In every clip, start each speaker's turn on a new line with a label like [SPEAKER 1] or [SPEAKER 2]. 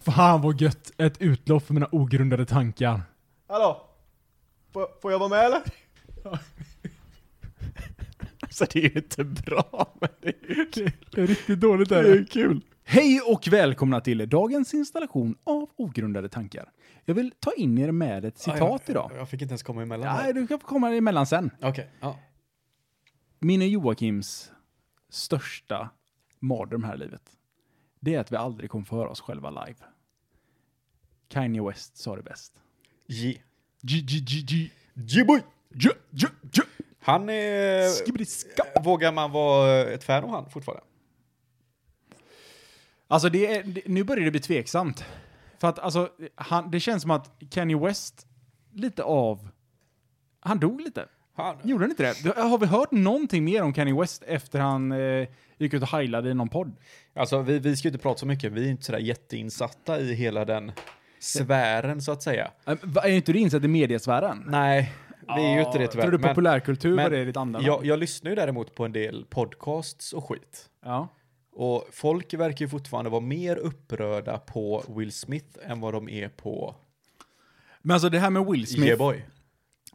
[SPEAKER 1] Fan vad gött! Ett utlopp för mina ogrundade tankar.
[SPEAKER 2] Hallå? Får, får jag vara med eller?
[SPEAKER 3] Alltså det är ju inte bra, men det är ju kul.
[SPEAKER 1] Det är riktigt dåligt
[SPEAKER 3] Det
[SPEAKER 1] där.
[SPEAKER 3] är ju kul.
[SPEAKER 1] Hej och välkomna till dagens installation av ogrundade tankar. Jag vill ta in er med ett citat idag.
[SPEAKER 2] Jag fick inte ens komma emellan.
[SPEAKER 1] Nej, du kan få komma emellan sen.
[SPEAKER 2] Okej. Ja.
[SPEAKER 1] Min och Joakims största mardröm här i livet, det är att vi aldrig kommer få höra oss själva live. Kanye West sa det bäst.
[SPEAKER 2] G.
[SPEAKER 1] G, G, G, G.
[SPEAKER 2] G-boy!
[SPEAKER 1] G, G, G.
[SPEAKER 2] Han är...
[SPEAKER 1] Skibbidiska.
[SPEAKER 2] Vågar man vara ett fan av han fortfarande?
[SPEAKER 1] Alltså det är, det, nu börjar det bli tveksamt. För att alltså, han, det känns som att Kanye West lite av, han dog lite.
[SPEAKER 2] Han...
[SPEAKER 1] Gjorde han inte det? Har vi hört någonting mer om Kanye West efter han eh, gick ut och heilade i någon podd?
[SPEAKER 2] Alltså vi, vi ska ju inte prata så mycket, vi är inte sådär jätteinsatta i hela den sfären så att säga.
[SPEAKER 1] Eh, va- Är inte du insatt i mediesfären?
[SPEAKER 2] Nej, Ah, vi är ju inte det tyvärr.
[SPEAKER 1] Tror du
[SPEAKER 2] men-
[SPEAKER 1] populärkultur
[SPEAKER 2] men
[SPEAKER 1] var det ditt andra?
[SPEAKER 2] jag, jag lyssnar ju däremot på en del podcasts och skit.
[SPEAKER 1] ja.
[SPEAKER 2] Och folk verkar ju fortfarande vara mer upprörda på Will Smith än vad de är på E
[SPEAKER 1] Men alltså det här med Will Smith,
[SPEAKER 2] G-boy.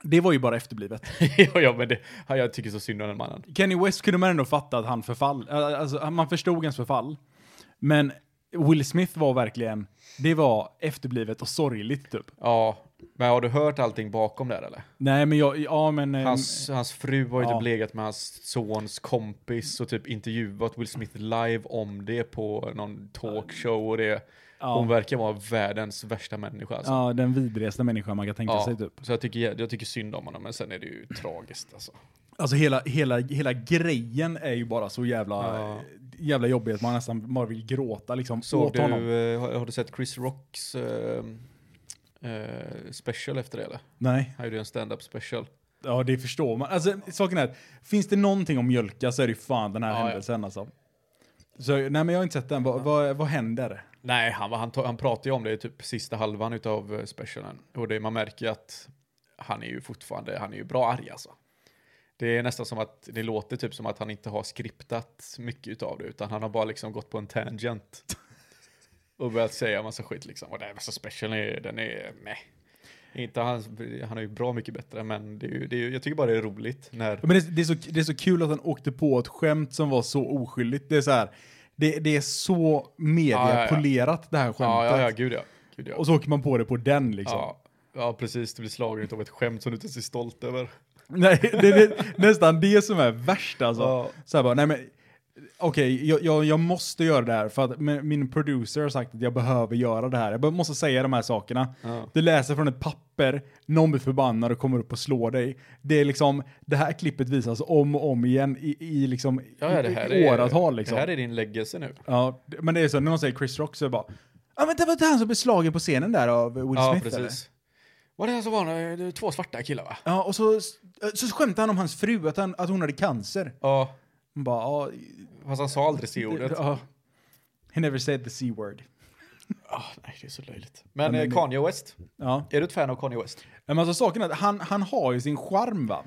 [SPEAKER 1] det var ju bara efterblivet.
[SPEAKER 2] ja, ja, men det, ja, jag tycker så synd om den mannen.
[SPEAKER 1] Kanye West kunde man ändå fatta att han förfall, eh, alltså man förstod hans förfall. Men Will Smith var verkligen, det var efterblivet och sorgligt typ.
[SPEAKER 2] Ja, men har du hört allting bakom där eller?
[SPEAKER 1] Nej men jag, ja men... eh,
[SPEAKER 2] Hans, hans fru har ju
[SPEAKER 1] ja.
[SPEAKER 2] typ legat med hans sons kompis och typ intervjuat Will Smith live om det på någon talkshow och det.
[SPEAKER 1] Ja.
[SPEAKER 2] Hon verkar vara världens värsta människa alltså.
[SPEAKER 1] Ja, den vidrigaste människan man kan tänka
[SPEAKER 2] Ja,
[SPEAKER 1] sig typ.
[SPEAKER 2] Så jag tycker, jag tycker synd om honom, men sen är det ju tragiskt alltså.
[SPEAKER 1] Alltså hela, hela, hela grejen är ju bara så jävla,
[SPEAKER 2] Ja.
[SPEAKER 1] jävla jobbig att man nästan bara vill gråta liksom
[SPEAKER 2] Såg
[SPEAKER 1] åt
[SPEAKER 2] du,
[SPEAKER 1] honom.
[SPEAKER 2] eh, har, har du sett Chris Rocks eh, eh, special efter det eller?
[SPEAKER 1] Nej,
[SPEAKER 2] Han gjorde ju en stand-up special.
[SPEAKER 1] ja det förstår man. Alltså saken är, finns det någonting om mjölka så är det ju fan den här
[SPEAKER 2] Ja, ja.
[SPEAKER 1] händelsen alltså. Så, nej men jag har inte sett den, vad, vad, vad händer?
[SPEAKER 2] Nej, han, var- han, ta- han pratade ju om det i typ sista halvan utav eh, specialen. Och det, man märker ju att han är ju fortfarande, han är ju bra arg alltså. Det är nästan som att, det låter typ som att han inte har skriptat mycket utav det, utan han har bara liksom gått på en tangent. Och börjat säga massa skit liksom. Och den här massa specialen är, den är, nej. Inte han, han är ju bra mycket bättre, men det är ju, det är, ju- jag tycker bara det är roligt när...
[SPEAKER 1] Ja, Men det, det, är så, det är så kul att han åkte på ett skämt som var så oskyldigt. Det är så här, det, det är så mediapolerat det här skämtet.
[SPEAKER 2] Ja, ja, ja, gud ja. Gud ja.
[SPEAKER 1] Och så åker man på det på den liksom.
[SPEAKER 2] ja. ja, precis, du blir slagen utav ett skämt som du inte är så stolt över.
[SPEAKER 1] Nej, det är nästan det som är värst alltså.
[SPEAKER 2] Ja.
[SPEAKER 1] Så här bara, nej men, okej, jag, jag, jag måste göra det här för att min min producer har sagt att jag behöver göra det här. Jag be- måste säga de här sakerna.
[SPEAKER 2] Ja.
[SPEAKER 1] Du läser från ett papper, någon blir förbannad och kommer upp och slår dig. Det är liksom, det här klippet visas om och om igen i, i liksom
[SPEAKER 2] Ja, ja, det
[SPEAKER 1] i-
[SPEAKER 2] här
[SPEAKER 1] i
[SPEAKER 2] är,
[SPEAKER 1] åratal liksom.
[SPEAKER 2] Det här är din legacy nu.
[SPEAKER 1] Ja, det- men det är så, när någon säger Chris Rock så är det bara, ja men det var inte han som blev slagen på scenen där av Will
[SPEAKER 2] ja,
[SPEAKER 1] Smith eller?
[SPEAKER 2] precis. Var det han som var några- det var två svarta killar va?
[SPEAKER 1] Ja, och så, så skämtade han om hans fru, att, han, att hon hade cancer.
[SPEAKER 2] Ja,
[SPEAKER 1] Man bara, ja,
[SPEAKER 2] fast han sa aldrig C-ordet.
[SPEAKER 1] Ja. He never said the C word.
[SPEAKER 2] Ah, nej, det är så löjligt. Men,
[SPEAKER 1] men
[SPEAKER 2] eh,
[SPEAKER 1] det-
[SPEAKER 2] Kanye West,
[SPEAKER 1] Ja.
[SPEAKER 2] är du ett fan av Kanye West?
[SPEAKER 1] Men alltså saken är att han, han har ju sin charm va?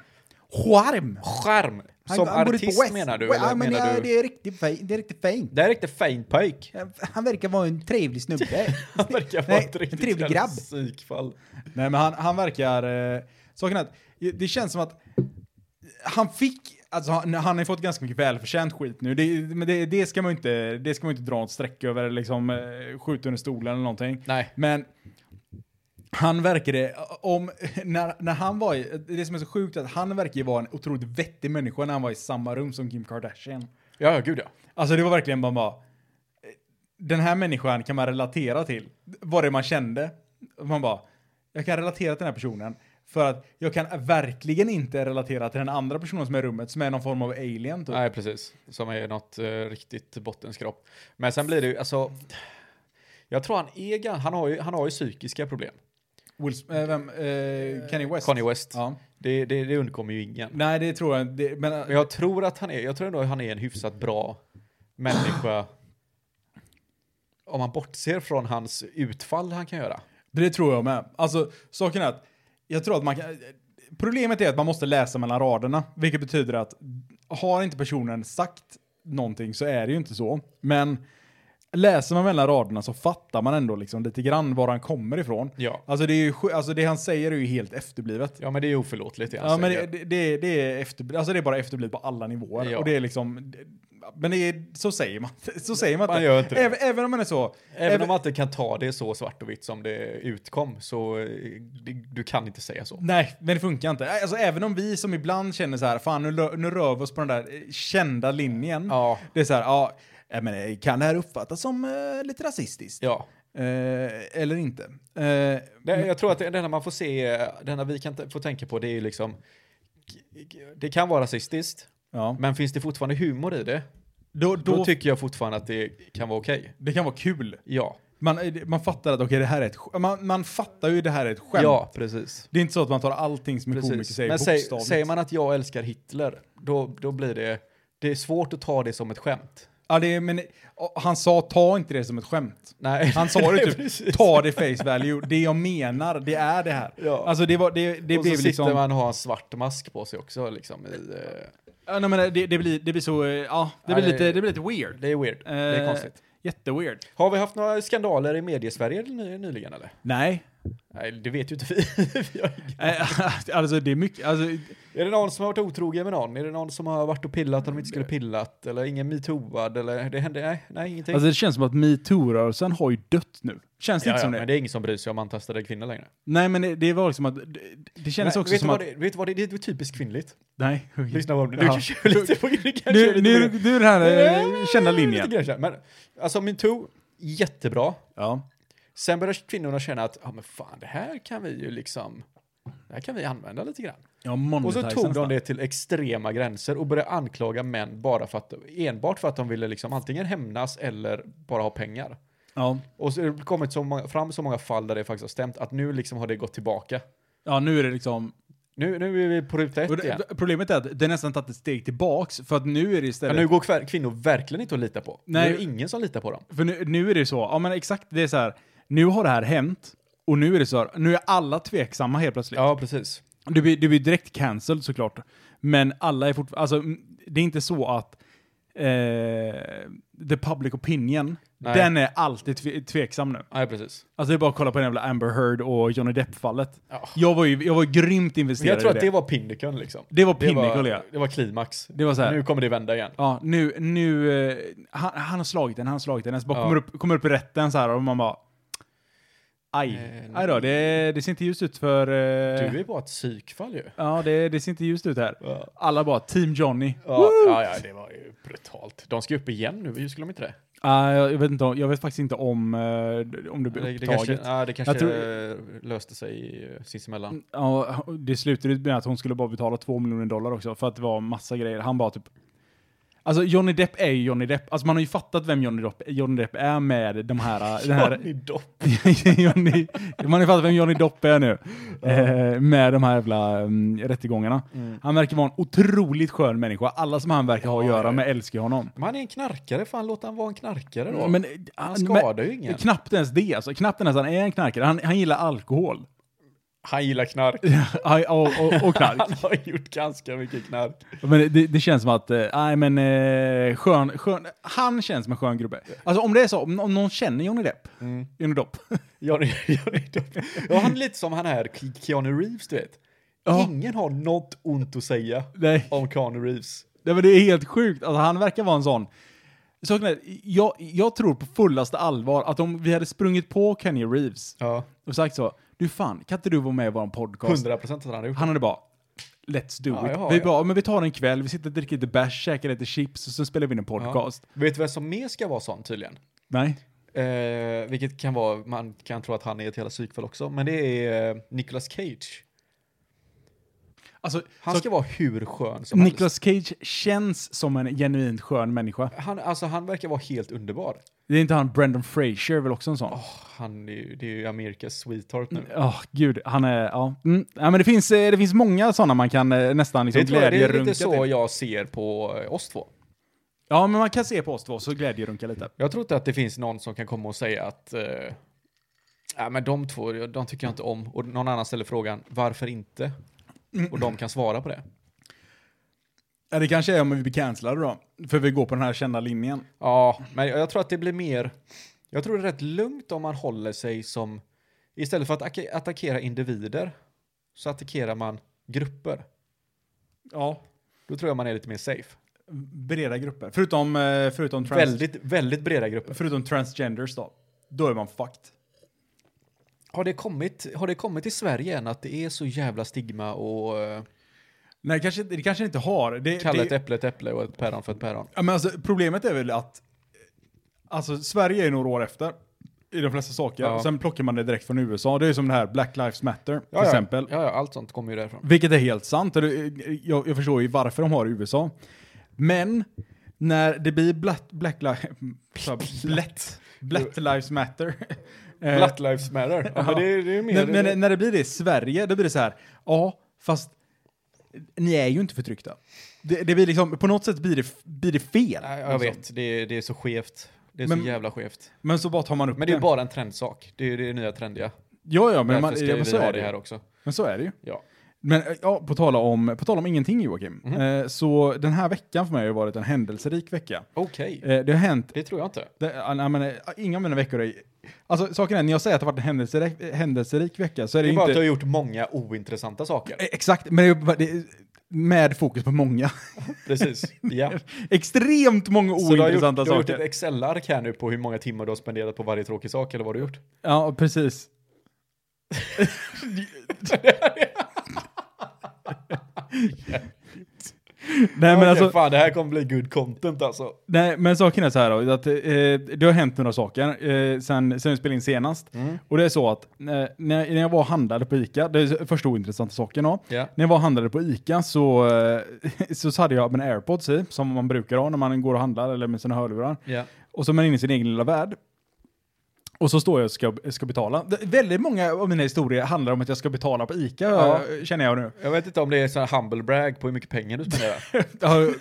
[SPEAKER 1] Charm!
[SPEAKER 2] Skärm!
[SPEAKER 1] Han,
[SPEAKER 2] Som
[SPEAKER 1] han bor ute på
[SPEAKER 2] artist
[SPEAKER 1] West.
[SPEAKER 2] menar du?
[SPEAKER 1] Ja,
[SPEAKER 2] eller
[SPEAKER 1] men
[SPEAKER 2] menar
[SPEAKER 1] ja,
[SPEAKER 2] du?
[SPEAKER 1] det är riktigt fint. Det är riktigt fint.
[SPEAKER 2] Det är riktigt fin pojk.
[SPEAKER 1] Han verkar vara en trevlig snubbe.
[SPEAKER 2] Han verkar vara
[SPEAKER 1] Nej,
[SPEAKER 2] ett
[SPEAKER 1] en
[SPEAKER 2] riktigt
[SPEAKER 1] trevlig
[SPEAKER 2] jävla
[SPEAKER 1] grabb.
[SPEAKER 2] psykfall.
[SPEAKER 1] Nej men han, han verkar... Eh, saken är att det känns som att han fick... Alltså han, han har ju fått ganska mycket välförtjänt skit nu. Det, men det, det, ska man ju inte, det ska man ju inte dra något streck över eller liksom eh, skjuta under stolen eller någonting.
[SPEAKER 2] Nej.
[SPEAKER 1] Men han verkade, om, när, när han var i, det som är så sjukt är att han verkar ju vara en otroligt vettig människa när han var i samma rum som Kim Kardashian.
[SPEAKER 2] Ja, ja, gud ja.
[SPEAKER 1] Alltså det var verkligen bara, bara den här människan kan man relatera till. Vad det man kände. Man bara, jag kan relatera till den här personen. För att jag kan verkligen inte relatera till den andra personen som är i rummet, som är någon form av alien typ.
[SPEAKER 2] Nej, precis. Som är något eh, riktigt bottenskrap. Men sen blir det ju, alltså... Jag tror han är, gan- han har ju, han har ju psykiska problem.
[SPEAKER 1] Will, Sm- eh, vem, eh, Kanye West.
[SPEAKER 2] Kanye West.
[SPEAKER 1] Ja.
[SPEAKER 2] Det, det, det undkommer ju ingen.
[SPEAKER 1] Nej, det tror jag det, men,
[SPEAKER 2] Men jag tror att han är, jag tror ändå att han är en hyfsat bra människa. Om man bortser från hans utfall han kan göra.
[SPEAKER 1] Det tror jag med. Alltså, saken är att jag tror att man kan... Problemet är att man måste läsa mellan raderna, vilket betyder att har inte personen sagt någonting så är det ju inte så. Men läser man mellan raderna så fattar man ändå liksom lite grann var han kommer ifrån.
[SPEAKER 2] Ja.
[SPEAKER 1] Alltså det, är ju, sj- alltså det han säger är ju helt efterblivet.
[SPEAKER 2] ja, men det är oförlåtligt det han
[SPEAKER 1] Ja, men
[SPEAKER 2] säger.
[SPEAKER 1] det, det- det, det, är efter, alltså det är bara efterblivet på alla nivåer.
[SPEAKER 2] Ja.
[SPEAKER 1] Och det är liksom, det- men det är, så säger man Så säger man,
[SPEAKER 2] Man gör inte det.
[SPEAKER 1] Även, även om man är så.
[SPEAKER 2] Även om man inte kan ta det så svart och vitt som det utkom så eh, det, du kan inte säga så.
[SPEAKER 1] Nej, men det funkar inte. Alltså även om vi som ibland känner så här, fan nu, lö- nu rör vi oss på den där eh, kända linjen.
[SPEAKER 2] Ja.
[SPEAKER 1] Det är så här, ja, eh, men eh, kan det här uppfattas som eh, lite rasistiskt?
[SPEAKER 2] Ja.
[SPEAKER 1] Eh, eller inte? Eh,
[SPEAKER 2] Det, jag tror att det det enda man får se, det enda vi kan t- få tänka på det är ju liksom, det kan vara rasistiskt,
[SPEAKER 1] ja.
[SPEAKER 2] men finns det fortfarande humor i det,
[SPEAKER 1] Då,
[SPEAKER 2] då,
[SPEAKER 1] då,
[SPEAKER 2] tycker jag fortfarande att det kan vara okej.
[SPEAKER 1] det kan vara kul.
[SPEAKER 2] Ja.
[SPEAKER 1] Man, man fattar att okej, det här är ett sk- man, man fattar ju det här är ett skämt.
[SPEAKER 2] Ja, precis.
[SPEAKER 1] Det är inte så att man tar allting som en komiker
[SPEAKER 2] precis.
[SPEAKER 1] säger
[SPEAKER 2] Men säg,
[SPEAKER 1] bokstavligt.
[SPEAKER 2] säger man att jag älskar Hitler, då, då blir det, det är svårt att ta det som ett skämt.
[SPEAKER 1] ja, det är, men, ja, han sa ta inte det som ett skämt.
[SPEAKER 2] Nej.
[SPEAKER 1] Han sa det
[SPEAKER 2] Precis.
[SPEAKER 1] typ, ta det face value, det jag menar, det är det här.
[SPEAKER 2] Ja.
[SPEAKER 1] Alltså det, var, det, det
[SPEAKER 2] och så
[SPEAKER 1] blev
[SPEAKER 2] sitter
[SPEAKER 1] liksom...
[SPEAKER 2] man och har en svart mask på sig också. Liksom, i, eh,
[SPEAKER 1] Ja, nej, men det, det, blir, det blir så, eh, ja, det,
[SPEAKER 2] Ja,
[SPEAKER 1] blir
[SPEAKER 2] det-
[SPEAKER 1] lite, det blir lite weird.
[SPEAKER 2] det är weird. det är
[SPEAKER 1] Eh,
[SPEAKER 2] konstigt.
[SPEAKER 1] Jätteweird.
[SPEAKER 2] Har vi haft några skandaler i mediesverige ny- nyligen eller?
[SPEAKER 1] Nej.
[SPEAKER 2] Nej, det vet ju inte vi. Vi har ingen-
[SPEAKER 1] Eh, alltså det är mycket, alltså,
[SPEAKER 2] är det någon som har varit otrogen med någon? Är det någon som har varit och pillat när de inte
[SPEAKER 1] Mm.
[SPEAKER 2] skulle pillat? Eller ingen metooad? Eller det hände? Nej, nej ingenting.
[SPEAKER 1] alltså det känns som att metoo-rörelsen har ju dött nu. Känns det
[SPEAKER 2] ja,
[SPEAKER 1] inte
[SPEAKER 2] ja,
[SPEAKER 1] som det?
[SPEAKER 2] men det är ingen som bryr sig om antastade kvinnor längre.
[SPEAKER 1] Nej men det, det var liksom att, det, det kändes
[SPEAKER 2] Nej,
[SPEAKER 1] också
[SPEAKER 2] vet,
[SPEAKER 1] som
[SPEAKER 2] du
[SPEAKER 1] att...
[SPEAKER 2] vad det, vet du vad det är? Det är typiskt kvinnligt.
[SPEAKER 1] Nej.
[SPEAKER 2] Lyssna på det. Du
[SPEAKER 1] Ja.
[SPEAKER 2] kanske är lite på du kanske är
[SPEAKER 1] Nu,
[SPEAKER 2] lite
[SPEAKER 1] nu,
[SPEAKER 2] på-
[SPEAKER 1] nu är den här eh, kända
[SPEAKER 2] Lite
[SPEAKER 1] linjen.
[SPEAKER 2] grann så här, Men, alltså metoo, jättebra.
[SPEAKER 1] Ja.
[SPEAKER 2] Sen börjar kvinnorna känna att, ja ah, men fan, det här kan vi ju liksom, det här kan vi använda lite grann.
[SPEAKER 1] Ja,
[SPEAKER 2] Och så tog de
[SPEAKER 1] nästan.
[SPEAKER 2] det till extrema gränser och började anklaga män bara för att, enbart för att de ville liksom antingen hämnas eller bara ha pengar.
[SPEAKER 1] Ja.
[SPEAKER 2] Och så har det kommit så många, fram så många fall där det faktiskt har stämt att nu liksom har det gått tillbaka.
[SPEAKER 1] ja, nu är det liksom...
[SPEAKER 2] Nu, nu är vi på ruta
[SPEAKER 1] och
[SPEAKER 2] ett igen.
[SPEAKER 1] det, problemet är att det nästan tagit ett steg tillbaks, för att nu är det
[SPEAKER 2] Men
[SPEAKER 1] istället...
[SPEAKER 2] nu går kvär- kvinnor verkligen inte att lita på.
[SPEAKER 1] Nej.
[SPEAKER 2] Nej. Nu är det ingen som litar på dem.
[SPEAKER 1] För nu, nu är det så, ja men exakt, det är så här, nu har det här hänt, och nu är det så här, nu är alla tveksamma helt plötsligt.
[SPEAKER 2] Ja, precis.
[SPEAKER 1] Du, blir, du blir direkt cancelled såklart, men alla är fortfarande, alltså m- det är inte så att eh, the public opinion,
[SPEAKER 2] Nej.
[SPEAKER 1] den är alltid tve, tveksam nu.
[SPEAKER 2] Nej, precis.
[SPEAKER 1] Alltså det är bara att kolla på den jävla Amber Heard och Johnny Depp-fallet.
[SPEAKER 2] Ja.
[SPEAKER 1] Jag var ju jag var grymt
[SPEAKER 2] Men
[SPEAKER 1] investerad
[SPEAKER 2] jag tror
[SPEAKER 1] i
[SPEAKER 2] att det var pinnekön liksom.
[SPEAKER 1] Det var pinnacle, ja.
[SPEAKER 2] var, det var klimax.
[SPEAKER 1] Det var så här.
[SPEAKER 2] Nu kommer det vända igen.
[SPEAKER 1] Ja, nu, nu, eh, han, han har slagit den, han har slagit den. Så bara
[SPEAKER 2] Ja.
[SPEAKER 1] kommer, upp, kommer upp i rätten så här och man bara... Aj.
[SPEAKER 2] Eh,
[SPEAKER 1] Aj då, det, det ser inte ljust ut för... eh,
[SPEAKER 2] Du är bara ett psykfall ju.
[SPEAKER 1] Ja, det, det ser inte ljust ut här.
[SPEAKER 2] Ja.
[SPEAKER 1] Alla bara, Team Johnny.
[SPEAKER 2] Ja, ja, ja, det var ju brutalt. De ska upp igen nu, hur skulle de inte det?
[SPEAKER 1] Ah, jag, jag vet inte, om- jag vet faktiskt inte om, eh, om det
[SPEAKER 2] Det,
[SPEAKER 1] blir
[SPEAKER 2] det kanske,
[SPEAKER 1] upptaget.
[SPEAKER 2] ja, det kanske
[SPEAKER 1] Jag tror-
[SPEAKER 2] eh, löste sig eh, sinsemellan.
[SPEAKER 1] Mm, Ja, det slutade med att hon skulle bara betala två miljoner dollar också för att det var massa grejer. Han bara typ... Alltså Johnny Depp är ju Johnny Depp. Alltså man har ju fattat vem Johnny Depp, Johnny Depp är med de här... Den här
[SPEAKER 2] Johnny Depp.
[SPEAKER 1] Johnny, man har ju fattat vem Johnny Depp är nu. Eh, med de här jävla mm, rättegångarna. Han verkar vara en otroligt skön människa. Alla som han verkar ha att göra med älskar ju honom.
[SPEAKER 2] Men han är en knarkare, fan låt han vara en knarkare då.
[SPEAKER 1] Ja, Men,
[SPEAKER 2] han skadar ju ingen.
[SPEAKER 1] Knappt ens det alltså. Knappt ens han är en knarkare. Han, han gillar alkohol.
[SPEAKER 2] Han gillar knark.
[SPEAKER 1] Ja, och, och, och knark.
[SPEAKER 2] Han har gjort ganska mycket knark.
[SPEAKER 1] Men det, det känns som att, eh, nej men eh, skön, skön, han känns som en skön gubbe. Alltså om det är så, om, om någon känner Johnny Depp,
[SPEAKER 2] Mm.
[SPEAKER 1] Johnny Depp.
[SPEAKER 2] Johnny, Johnny Depp. Ja, han är lite som han är Ke- Keanu Reeves, du vet.
[SPEAKER 1] Ja.
[SPEAKER 2] Ingen har något ont att säga
[SPEAKER 1] Nej.
[SPEAKER 2] om Keanu Reeves.
[SPEAKER 1] Nej men det är helt sjukt, alltså han verkar vara en sån. Saken är, jag, jag tror på fullaste allvar att om vi hade sprungit på Kenny Reeves
[SPEAKER 2] Ja.
[SPEAKER 1] och sagt så, du fan, kan inte du vara med i vår podcast?
[SPEAKER 2] 100 procent att han har gjort.
[SPEAKER 1] Han hade bara, let's do
[SPEAKER 2] Ja,
[SPEAKER 1] it.
[SPEAKER 2] jag har
[SPEAKER 1] vi
[SPEAKER 2] det.
[SPEAKER 1] bara, men vi tar en kväll, vi sitter och dricker lite bärs, käkar lite chips och sen spelar vi in en podcast.
[SPEAKER 2] Vet du vem som mer ska vara sån tydligen?
[SPEAKER 1] Nej?
[SPEAKER 2] Eh, vilket kan vara, man kan tro att han är ett jävla psykfall också, men det är eh, Nicolas Cage.
[SPEAKER 1] Alltså,
[SPEAKER 2] Han
[SPEAKER 1] så-
[SPEAKER 2] ska vara hur skön som helst.
[SPEAKER 1] Nicolas Cage känns som en genuint skön människa.
[SPEAKER 2] Han, alltså, han verkar vara helt underbar.
[SPEAKER 1] Det är inte han Brendan Fraser väl också en sån?
[SPEAKER 2] Åh, han är ju, det är ju Amerikas sweetheart nu.
[SPEAKER 1] Åh, gud. Han är, ja. Mm. ja men det finns, eh, det finns många sådana man kan eh, nästan liksom
[SPEAKER 2] Det, tror jag, det är
[SPEAKER 1] glädjerunka typ.
[SPEAKER 2] lite så
[SPEAKER 1] till.
[SPEAKER 2] jag ser på eh, oss två.
[SPEAKER 1] Ja, men man kan se på oss två så glädjerunka lite.
[SPEAKER 2] Jag tror inte att det finns någon som kan komma och säga att eh, "Nej, men de två, de tycker jag inte om. Och någon annan ställer frågan, varför inte? Och de kan svara på det.
[SPEAKER 1] Ja, det kanske är om vi blir cancellade då. För vi går på den här kända linjen.
[SPEAKER 2] Ja, men jag tror att det blir mer... Jag tror det är rätt lugnt om man håller sig som... Istället för att attacke- attackera individer så attackerar man grupper.
[SPEAKER 1] Ja.
[SPEAKER 2] Då tror jag man är lite mer safe.
[SPEAKER 1] Breda grupper. Förutom, eh, förutom, trans,
[SPEAKER 2] Väldigt, väldigt breda grupper.
[SPEAKER 1] förutom transgenders då. Då är man fucked.
[SPEAKER 2] Har det, kommit, har det kommit till Sverige än att det är så jävla stigma och eh,
[SPEAKER 1] Nej, det kanske, det kanske inte har. Det,
[SPEAKER 2] kalla ett
[SPEAKER 1] det,
[SPEAKER 2] äpple ett äpple och ett päron för ett päron?
[SPEAKER 1] ja, men alltså, problemet är väl att alltså, Sverige är några år efter i de flesta saker.
[SPEAKER 2] Ja.
[SPEAKER 1] Sen plockar man det direkt från USA. Det är ju som det här Black Lives Matter till
[SPEAKER 2] Ja, ja.
[SPEAKER 1] exempel.
[SPEAKER 2] Ja, ja, allt sånt kommer ju därifrån.
[SPEAKER 1] Vilket är helt sant. Eller, eh, Jag, jag förstår ju varför de har det i USA. Men när det blir blatt, black, li- blatt, blatt lives matter. eh,
[SPEAKER 2] Black lives matter. Ja, men det, är- det är ju mer...
[SPEAKER 1] när, men när det blir det i Sverige, då blir det så här, ja, fast ni är ju inte förtryckta. Det, det blir liksom, på något sätt blir det, blir det fel.
[SPEAKER 2] Nej, jag
[SPEAKER 1] liksom.
[SPEAKER 2] vet, det är, det är så skevt. Det är
[SPEAKER 1] Men-
[SPEAKER 2] så jävla skevt.
[SPEAKER 1] Men så bara tar man upp
[SPEAKER 2] Men det är ju bara en trendsak. Det är ju det nya trendiga.
[SPEAKER 1] Ja, ja, men,
[SPEAKER 2] Därför
[SPEAKER 1] man,
[SPEAKER 2] ska
[SPEAKER 1] ja, men, så
[SPEAKER 2] vi ha
[SPEAKER 1] är
[SPEAKER 2] det
[SPEAKER 1] det.
[SPEAKER 2] här
[SPEAKER 1] ju.
[SPEAKER 2] också.
[SPEAKER 1] men så är det ju.
[SPEAKER 2] Ja.
[SPEAKER 1] Men eh, ja, på tala om, på tala om ingenting Joakim.
[SPEAKER 2] Mhm.
[SPEAKER 1] Eh, så den här veckan för mig har ju varit en händelserik vecka.
[SPEAKER 2] Okej,
[SPEAKER 1] Eh, det har hänt
[SPEAKER 2] det tror jag inte.
[SPEAKER 1] Det, ja, nej, men, eh, inga av mina veckor är... Alltså saken är, när jag säger att det har varit en händelserik, händelserik vecka så är
[SPEAKER 2] Det
[SPEAKER 1] det,
[SPEAKER 2] är bara
[SPEAKER 1] inte...
[SPEAKER 2] att du har gjort många ointressanta saker.
[SPEAKER 1] Eh, Exakt, men det är, bara- det är med fokus på många.
[SPEAKER 2] Precis. Ja.
[SPEAKER 1] Extremt många
[SPEAKER 2] Så du har, gjort, du
[SPEAKER 1] ointressanta
[SPEAKER 2] har gjort
[SPEAKER 1] saker.
[SPEAKER 2] ett Excel-ark här nu på hur många timmar du har spenderat på varje tråkig sak, eller vad har du gjort?
[SPEAKER 1] Ja, precis. nej, men
[SPEAKER 2] Okej,
[SPEAKER 1] alltså,
[SPEAKER 2] Fan, det här kommer bli good content alltså.
[SPEAKER 1] nej, men saken är så här då, att eh, det har hänt några saker eh, sen, sen vi spelade in senast.
[SPEAKER 2] Mm.
[SPEAKER 1] Och det är så att eh, när, när jag var och handlade på ICA, det är första ointressanta saken då,
[SPEAKER 2] Ja.
[SPEAKER 1] När jag var och handlade på ICA så, eh, så, så hade jag mina airpods i, som man brukar ha när man går och handlar eller med sina hörlurar.
[SPEAKER 2] Ja.
[SPEAKER 1] Och så är man inne i sin egen lilla värld. Och så står jag och ska, ska betala. Det- Väldigt många av mina historier handlar om att jag ska betala på ICA,
[SPEAKER 2] Ja.
[SPEAKER 1] eh, känner jag nu.
[SPEAKER 2] Jag vet inte om det är sån här humble brag på hur mycket pengar du spenderar.
[SPEAKER 1] Ja,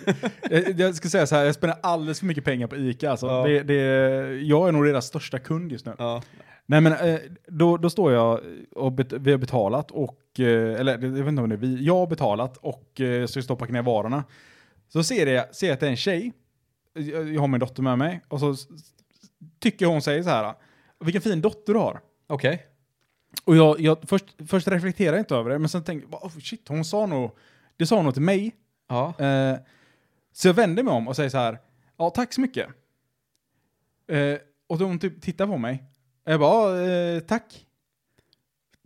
[SPEAKER 1] jag, jag ska säga så här, jag spenderar alldeles för mycket pengar på ICA. Alltså.
[SPEAKER 2] Ja.
[SPEAKER 1] Det, det, jag är nog deras största kund just nu.
[SPEAKER 2] ja.
[SPEAKER 1] Nej men eh, då, då står jag och bet- vi har betalat och, eh, eller jag vet inte om det är vi, jag har betalat och eh, jag ska stoppa ner varorna. Så ser jag, ser jag att det är en tjej, jag, jag har min dotter med mig, och så s- s- tycker hon säger så här, vilken fin dotter du har.
[SPEAKER 2] Okej.
[SPEAKER 1] Och jag, jag först, först reflekterar jag inte över det, men sen tänker jag, oh, shit, hon sa nog, det sa hon nog till mig.
[SPEAKER 2] Ja.
[SPEAKER 1] Eh, så jag vänder mig om och säger så här, ja tack så mycket. Eh, och då hon typ tittar på mig. Jag bara, "Ja, eh, tack.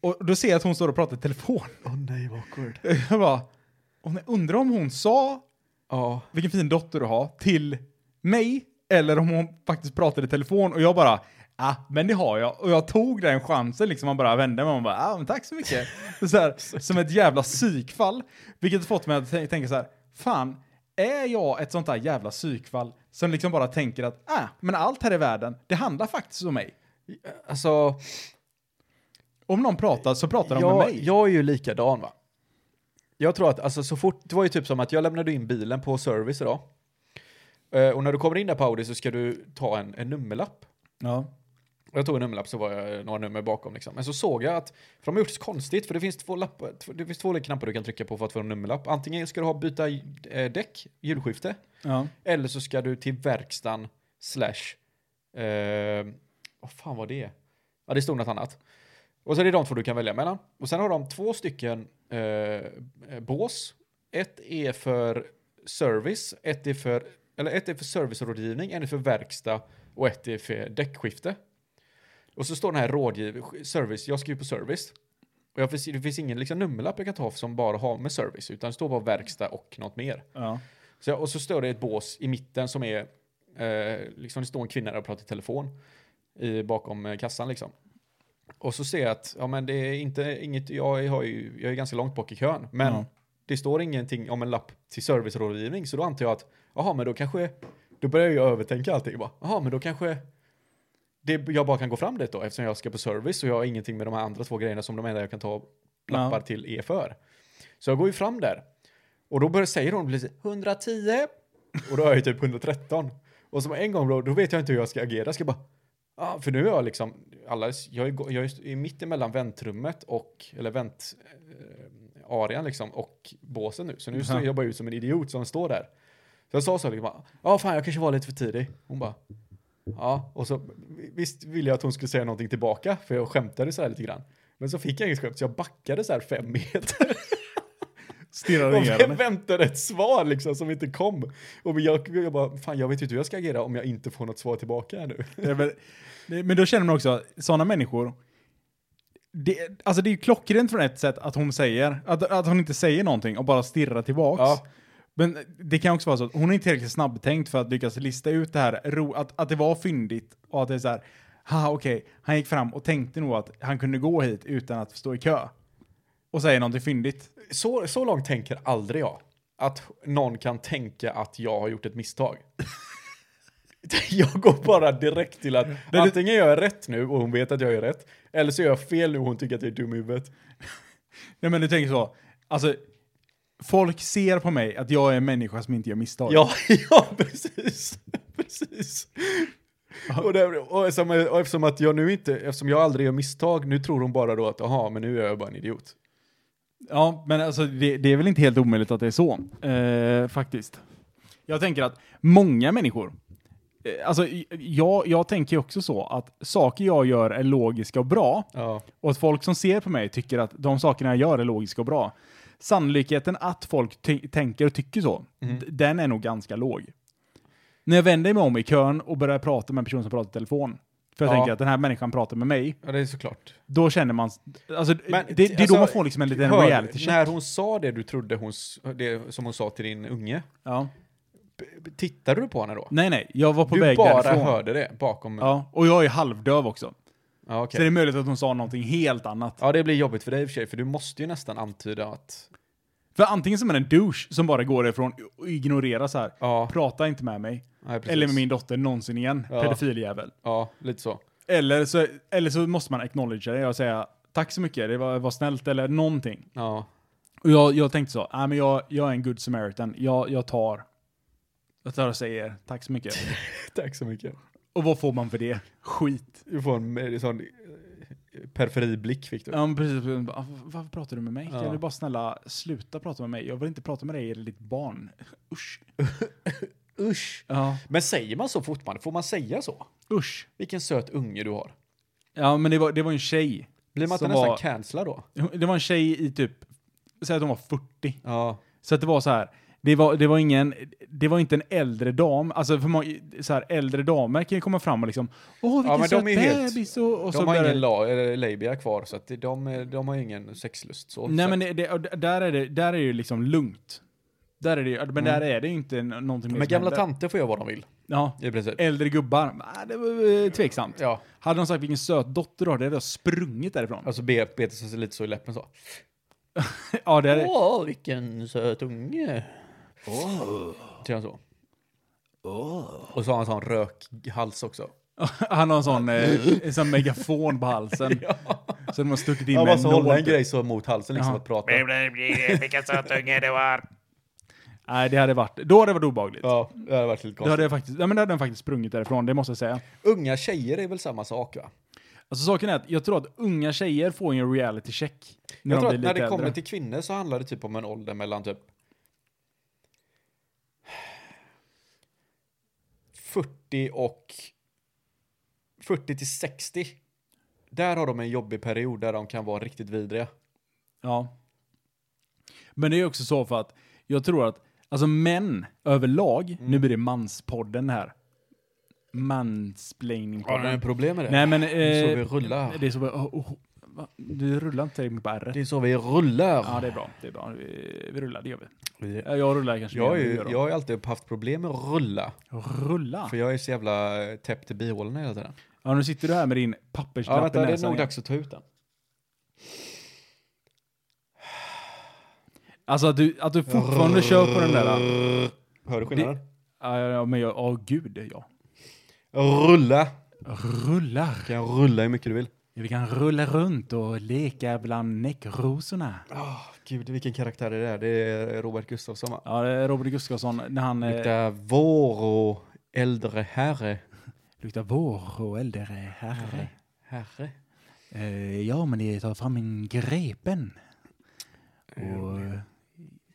[SPEAKER 1] Och då ser jag att hon står och pratar i telefon.
[SPEAKER 2] Åh nej, vad awkward.
[SPEAKER 1] Jag bara, "Åh, nej, undrar om hon sa
[SPEAKER 2] Ja.
[SPEAKER 1] vilken fin dotter du har till mig eller om hon faktiskt pratade i telefon och jag bara, ah, men det har jag. Och jag tog den chansen liksom, man bara vände mig och man bara, ah, men tack så mycket. Och så här, som ett jävla psykfall, vilket fått mig att tän- tänka så här, fan, är jag ett sånt där jävla psykfall som liksom bara tänker att, ah, men allt här i världen, det handlar faktiskt om mig.
[SPEAKER 2] Alltså,
[SPEAKER 1] Om någon pratar så pratar de med
[SPEAKER 2] jag,
[SPEAKER 1] mig.
[SPEAKER 2] jag är ju likadan va. Jag tror att, alltså så fort, det var ju typ som att jag lämnade in bilen på service idag. Eh, och när du kommer in där på Audi så ska du ta en, en nummerlapp.
[SPEAKER 1] Ja.
[SPEAKER 2] Och Jag tog en nummerlapp så var jag några nummer bakom liksom. Men så såg jag att, för de har gjort så konstigt, för det finns två lappar, tv- det finns två olika knappar du kan trycka på för att få en nummerlapp. Antingen ska du ha byta eh, däck, hjulskifte,
[SPEAKER 1] Ja.
[SPEAKER 2] eller så ska du till verkstan slash... Eh, vad fan var det? Ja, det stod något annat. Och så är det de två du kan välja mellan. Och sen har de två stycken eh, eh, bås. Ett är för service, ett är för, eller ett är för servicerådgivning, en är för verkstad och ett är för däckskifte. Och så står den här rådgiv, service, jag ska ju på service. Och jag, finns- det finns ingen liksom, nummerlapp jag kan ta som bara har med service, utan det står bara verkstad och något mer.
[SPEAKER 1] Ja.
[SPEAKER 2] Så, och så står det ett bås i mitten som är, eh, liksom det står en kvinna där och pratar i telefon i, bakom eh, kassan liksom. Och så ser jag att, ja men det är inte inget, jag, har ju, jag är ganska långt bak i kön, men
[SPEAKER 1] Ja.
[SPEAKER 2] det står ingenting om en lapp till servicerådgivning, så då antar jag att, jaha men då kanske, då börjar jag övertänka allting bara, jaha men då kanske det, jag bara kan gå fram dit då, eftersom jag ska på service och jag har ingenting med de här andra två grejerna som de enda jag kan ta lappar
[SPEAKER 1] Ja.
[SPEAKER 2] till E för. Så jag går ju fram där. Och då börjar, säger hon precis 110. Och då är jag ju typ 113. Och som en gång då, då vet jag inte hur jag ska agera. Jag ska bara, ah, för nu är jag liksom, alla, jag är, jag är mitt emellan väntrummet och, eller vänt, eh, arian liksom och båsen nu. Så nu står
[SPEAKER 1] Ja.
[SPEAKER 2] jag bara ut som en idiot som står där. Så jag sa så liksom, bara, ja fan jag kanske var lite för tidig. Hon bara, ja. Och så visst ville jag att hon skulle säga någonting tillbaka för jag skämtade så här lite grann. Men så fick jag inget skämt så jag backade så här fem meter.
[SPEAKER 1] Stirrar
[SPEAKER 2] Och
[SPEAKER 1] ner
[SPEAKER 2] jag
[SPEAKER 1] henne.
[SPEAKER 2] väntade ett svar liksom som inte kom. Och jag, jag bara, fan jag vet ju inte hur jag ska agera om jag inte får något svar tillbaka här nu.
[SPEAKER 1] Det är väl- det- Men då känner man också, sådana människor, det, alltså det är ju klockrent från ett sätt att hon säger, att, att hon inte säger någonting och bara stirrar tillbaks.
[SPEAKER 2] Ja.
[SPEAKER 1] Men det kan också vara så att hon är inte tillräckligt snabbtänkt för att lyckas lista ut det här, ro, att, att det var fyndigt och att det är så här, haha okej, han gick fram och tänkte nog att han kunde gå hit utan att stå i kö. Och säger någonting fyndigt.
[SPEAKER 2] så, så långt tänker aldrig jag. Att någon kan tänka att jag har gjort ett misstag. jag går bara direkt till att antingen gör jag rätt nu och hon vet att jag gör rätt. Eller så gör jag fel nu och hon tycker att jag är dum i huvudet.
[SPEAKER 1] Nej men du tänker så, alltså, folk ser på mig att jag är en människa som inte gör misstag.
[SPEAKER 2] Ja, ja precis. precis. Och, det, och, eftersom, och eftersom att jag nu inte, eftersom jag aldrig gör misstag, nu tror hon bara då att jaha, men nu är jag bara en idiot.
[SPEAKER 1] Ja, men alltså det, det är väl inte helt omöjligt att det är så, eh, faktiskt. Jag tänker att många människor, eh, alltså j- jag, jag tänker ju också så att saker jag gör är logiska och bra
[SPEAKER 2] Ja,
[SPEAKER 1] och att folk som ser på mig tycker att de sakerna jag gör är logiska och bra. Sannolikheten att folk ty- tänker och tycker så,
[SPEAKER 2] Mm.
[SPEAKER 1] d- den är nog ganska låg. När jag vänder mig om i kön och börjar prata med en person som pratar i telefon, för jag
[SPEAKER 2] Ja.
[SPEAKER 1] tänker att den här människan pratar med mig,
[SPEAKER 2] ja det är såklart.
[SPEAKER 1] då känner man, alltså
[SPEAKER 2] Men,
[SPEAKER 1] det, det är
[SPEAKER 2] alltså,
[SPEAKER 1] då man får liksom en liten
[SPEAKER 2] Hör,
[SPEAKER 1] reality check.
[SPEAKER 2] När hon sa det du trodde hon, s- det som hon sa till din unge,
[SPEAKER 1] Ja.
[SPEAKER 2] b- tittade du på henne då?
[SPEAKER 1] Nej, nej. Jag var på
[SPEAKER 2] Du
[SPEAKER 1] väg
[SPEAKER 2] bara
[SPEAKER 1] därifrån.
[SPEAKER 2] hörde det bakom? Ja,
[SPEAKER 1] Ja, och jag är halvdöv också. Så
[SPEAKER 2] okej.
[SPEAKER 1] det är möjligt att hon sa någonting helt annat.
[SPEAKER 2] Ja, det blir jobbigt för dig i och för sig, för du måste ju nästan antyda att...
[SPEAKER 1] För antingen som är en douche som bara går därifrån och ignorerar så här.
[SPEAKER 2] Ja,
[SPEAKER 1] Prata inte med mig.
[SPEAKER 2] nej, precis.
[SPEAKER 1] Eller med min dotter någonsin igen.
[SPEAKER 2] Ja.
[SPEAKER 1] Pedofiljävel.
[SPEAKER 2] Ja, lite så.
[SPEAKER 1] Eller så, eller så måste man acknowledge det och säga tack så mycket, det var, var snällt eller någonting.
[SPEAKER 2] Ja.
[SPEAKER 1] Och jag, jag tänkte så, nej men jag, jag är en good samaritan. Jag, jag tar. Jag tar och säger tack så mycket.
[SPEAKER 2] Tack så mycket.
[SPEAKER 1] och vad får man för det? Skit.
[SPEAKER 2] Du får en eh, sån eh, perferiblick fick du.
[SPEAKER 1] Ja, men precis. Bara, Varför pratar du med mig?
[SPEAKER 2] Ja.
[SPEAKER 1] Kan du bara snälla sluta prata med mig? Jag vill inte prata med dig eller ditt barn. Usch.
[SPEAKER 2] Usch!
[SPEAKER 1] Ja,
[SPEAKER 2] Men säger man så fortfarande? Får man säga så?
[SPEAKER 1] usch.
[SPEAKER 2] Vilken söt unge du har.
[SPEAKER 1] Ja, men det var, det var en tjej.
[SPEAKER 2] Blir man inte
[SPEAKER 1] Som
[SPEAKER 2] nästan
[SPEAKER 1] var-
[SPEAKER 2] cancellad då?
[SPEAKER 1] Det var en tjej i typ, säg att hon var 40.
[SPEAKER 2] Ja.
[SPEAKER 1] Så att det var så här, det var, det var ingen, det var inte en äldre dam. Alltså för man, så här, äldre damer kan ju komma fram och liksom, åh vilken
[SPEAKER 2] men de
[SPEAKER 1] söt
[SPEAKER 2] är ju helt-
[SPEAKER 1] bebis och, och så
[SPEAKER 2] De har
[SPEAKER 1] börjar-
[SPEAKER 2] ingen la, eller labia kvar, så att de, de, de har ingen sexlust. Så.
[SPEAKER 1] Nej
[SPEAKER 2] så.
[SPEAKER 1] men det, det, och där är det, där är det ju liksom lugnt. Där är det ju- men där är det ju inte n- någonting mer
[SPEAKER 2] men
[SPEAKER 1] som
[SPEAKER 2] gamla
[SPEAKER 1] händer.
[SPEAKER 2] tanter får göra vad de vill,
[SPEAKER 1] Ja,
[SPEAKER 2] i princip.
[SPEAKER 1] äldre gubbar. Nej, det var eh, tveksamt.
[SPEAKER 2] Ja.
[SPEAKER 1] Hade de sagt vilken söt dotter du har, det hade jag sprungit därifrån.
[SPEAKER 2] Alltså be- bete sig lite så i läppen så.
[SPEAKER 1] Ja, det hade...
[SPEAKER 2] Åh, vilken söt unge. Till han så. Och så har han sån rökhals också.
[SPEAKER 1] Han har en sån, eh, en sån megafon på halsen. Så de har stuckit in
[SPEAKER 2] Han
[SPEAKER 1] med
[SPEAKER 2] måste hålla en
[SPEAKER 1] nål.
[SPEAKER 2] grej så mot halsen liksom
[SPEAKER 1] Jaha.
[SPEAKER 2] att prata.
[SPEAKER 4] Vilken söt unge du var.
[SPEAKER 1] Nej, det hade varit... Då hade det varit obehagligt.
[SPEAKER 2] Ja, det hade varit lite
[SPEAKER 1] Då
[SPEAKER 2] konstigt.
[SPEAKER 1] hade jag faktiskt, ja, men då hade den faktiskt sprungit därifrån, det måste jag säga.
[SPEAKER 2] Unga tjejer är väl samma sak va?
[SPEAKER 1] Alltså saken är att jag tror att unga tjejer får en reality check. När
[SPEAKER 2] jag
[SPEAKER 1] de blir
[SPEAKER 2] tror att när
[SPEAKER 1] lite
[SPEAKER 2] det kommer
[SPEAKER 1] äldre.
[SPEAKER 2] till kvinnor så handlar det typ om en ålder mellan typ 40 och 40 till 60. Där har de en jobbig period där de kan vara riktigt vidriga.
[SPEAKER 1] Ja. Men det är ju också så för att jag tror att alltså män överlag,
[SPEAKER 2] Mm.
[SPEAKER 1] nu blir det manspodden här.
[SPEAKER 2] Har ni
[SPEAKER 1] Mansplainingpodden.
[SPEAKER 2] problem med det?
[SPEAKER 1] Nej men... Eh,
[SPEAKER 2] Det är så vi rullar.
[SPEAKER 1] Det är så vi... Oh, oh, va? du rullar inte tillräckligt mycket på r
[SPEAKER 2] Det är så vi rullar.
[SPEAKER 1] Ja, det är bra. Det är bra. Vi, vi rullar, det gör vi.
[SPEAKER 2] Vi-
[SPEAKER 1] Ja, Jag rullar kanske
[SPEAKER 2] Jag,
[SPEAKER 1] mer
[SPEAKER 2] är,
[SPEAKER 1] än
[SPEAKER 2] ju-
[SPEAKER 1] du gör då.
[SPEAKER 2] jag har ju alltid haft problem med att rulla.
[SPEAKER 1] Rulla?
[SPEAKER 2] För jag är så jävla eh, täppt i bihålorna hela tiden.
[SPEAKER 1] Ja, nu sitter du här med din
[SPEAKER 2] Ja,
[SPEAKER 1] pappersknapp
[SPEAKER 2] vänta,
[SPEAKER 1] i
[SPEAKER 2] det är
[SPEAKER 1] näsan
[SPEAKER 2] nog
[SPEAKER 1] igen.
[SPEAKER 2] dags att ta ut den.
[SPEAKER 1] Alltså att du, att du fortfarande kör på den där...
[SPEAKER 2] Hör du skillnaden?
[SPEAKER 1] Ja, ja, men jag... Åh gud, ja.
[SPEAKER 2] Rulla!
[SPEAKER 1] Rullar.
[SPEAKER 2] Du kan rulla hur mycket du vill.
[SPEAKER 1] Vi kan rulla runt och leka bland näckrosorna.
[SPEAKER 2] Oh, Gud, vilken karaktär det är. Det är Robert Gustafsson va?
[SPEAKER 1] Ja, det är Robert Gustafsson när han eh, luktar,
[SPEAKER 2] Luktar vår och äldre herre.
[SPEAKER 1] vår och äldre herre.
[SPEAKER 2] Herre?
[SPEAKER 1] Eh, ja, men det tar fram en grepen. Och eh,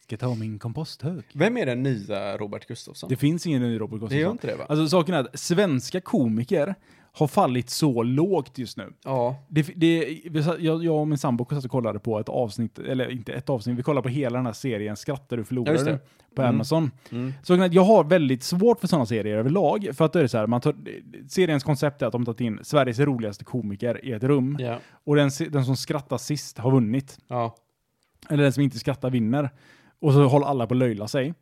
[SPEAKER 1] ska ta min komposthög.
[SPEAKER 2] Vem är den nya Robert Gustafsson?
[SPEAKER 1] Det
[SPEAKER 2] Det,
[SPEAKER 1] finns ingen ny Robert
[SPEAKER 2] gör
[SPEAKER 1] Gustafsson.
[SPEAKER 2] inte det va?
[SPEAKER 1] Alltså saken är att svenska komiker har fallit så lågt just nu.
[SPEAKER 2] ja,
[SPEAKER 1] Det, det, vi satt- jag, jag och min sambo satt och kollade på ett avsnitt, eller inte ett avsnitt, vi kollade på hela den här serien Skrattar du förlorar
[SPEAKER 2] Ja, just det.
[SPEAKER 1] du på
[SPEAKER 2] Mm.
[SPEAKER 1] Amazon.
[SPEAKER 2] Mm.
[SPEAKER 1] Så jag har väldigt svårt för sådana serier överlag, för att då är det så här, man tar, seriens koncept är att de tagit in Sveriges roligaste komiker i ett rum,
[SPEAKER 2] ja,
[SPEAKER 1] och den, se- den som skrattar sist har vunnit.
[SPEAKER 2] ja.
[SPEAKER 1] Eller den som inte skrattar vinner. Och så håller alla på att löjla sig.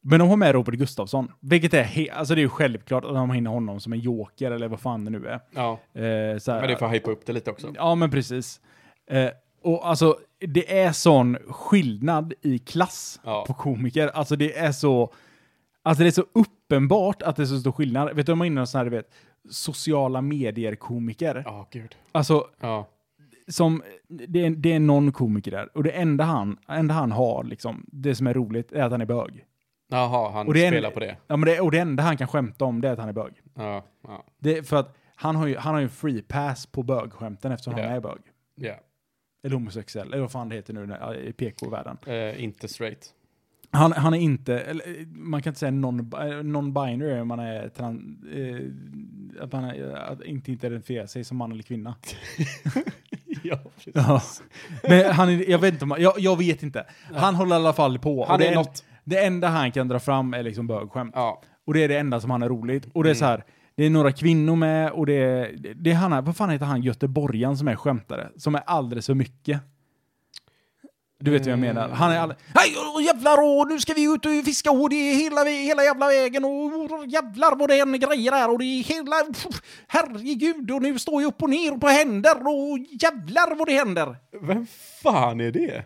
[SPEAKER 1] Men de har med Robert Gustafsson, vilket är, he- alltså det är ju självklart att de har in honom som en joker eller vad fan det nu är.
[SPEAKER 2] ja.
[SPEAKER 1] Eh, så här-
[SPEAKER 2] Men det är för att hypa upp det lite också.
[SPEAKER 1] Ja, men precis. Eh, och alltså, det är sån skillnad i klass
[SPEAKER 2] Ja.
[SPEAKER 1] på komiker. Alltså det är så... Alltså det är så uppenbart att det är så stor skillnad. Vet du, om man är inne i sån här, du vet, sociala medier-komiker.
[SPEAKER 2] Ja, gud.
[SPEAKER 1] Alltså,
[SPEAKER 2] Ja,
[SPEAKER 1] som, det är, det är någon komiker där. Och det enda han, enda han har, liksom, det som är roligt, är att han är bög.
[SPEAKER 2] jaha, han
[SPEAKER 1] Och det är en-
[SPEAKER 2] spelar på det.
[SPEAKER 1] Ja, men det, och det enda han kan skämta om, det är att han är bög.
[SPEAKER 2] Ja, ja,
[SPEAKER 1] Det, är för att han har ju, han har ju en free pass på bögskämten eftersom
[SPEAKER 2] Ja.
[SPEAKER 1] han är bög.
[SPEAKER 2] ja.
[SPEAKER 1] Eller homosexuell, eller vad fan det heter nu när- i PK-världen.
[SPEAKER 2] Eh, inte straight.
[SPEAKER 1] Han, han är inte, eller, eh, man kan inte säga non- eh, non-binary om man är trans, eh, att man är, att inte identifierar sig som man eller kvinna.
[SPEAKER 2] ja, precis.
[SPEAKER 1] Ja. Men han är, jag vet inte, om han- jag, jag vet inte. Han håller i alla fall på.
[SPEAKER 2] Han
[SPEAKER 1] Och det,
[SPEAKER 2] är
[SPEAKER 1] en-
[SPEAKER 2] något.
[SPEAKER 1] det enda han kan dra fram är liksom bögskämt.
[SPEAKER 2] Ja,
[SPEAKER 1] Och det är det enda som han är roligt. Och det är så här, det är några kvinnor med och det är, det- det är han här, vad fan heter han, göteborgaren som är skämtare? Som är alldeles för mycket. Du vet vad jag menar. Han är all... Hej åh, jävlar och nu ska vi ut och fiska och det är hela, hela jävla vägen och åh, jävlar vad det är en grejer här och det är hela... pff, Herregud och nu står jag upp och ner på händer och jävlar vad det händer.
[SPEAKER 2] vem fan är det?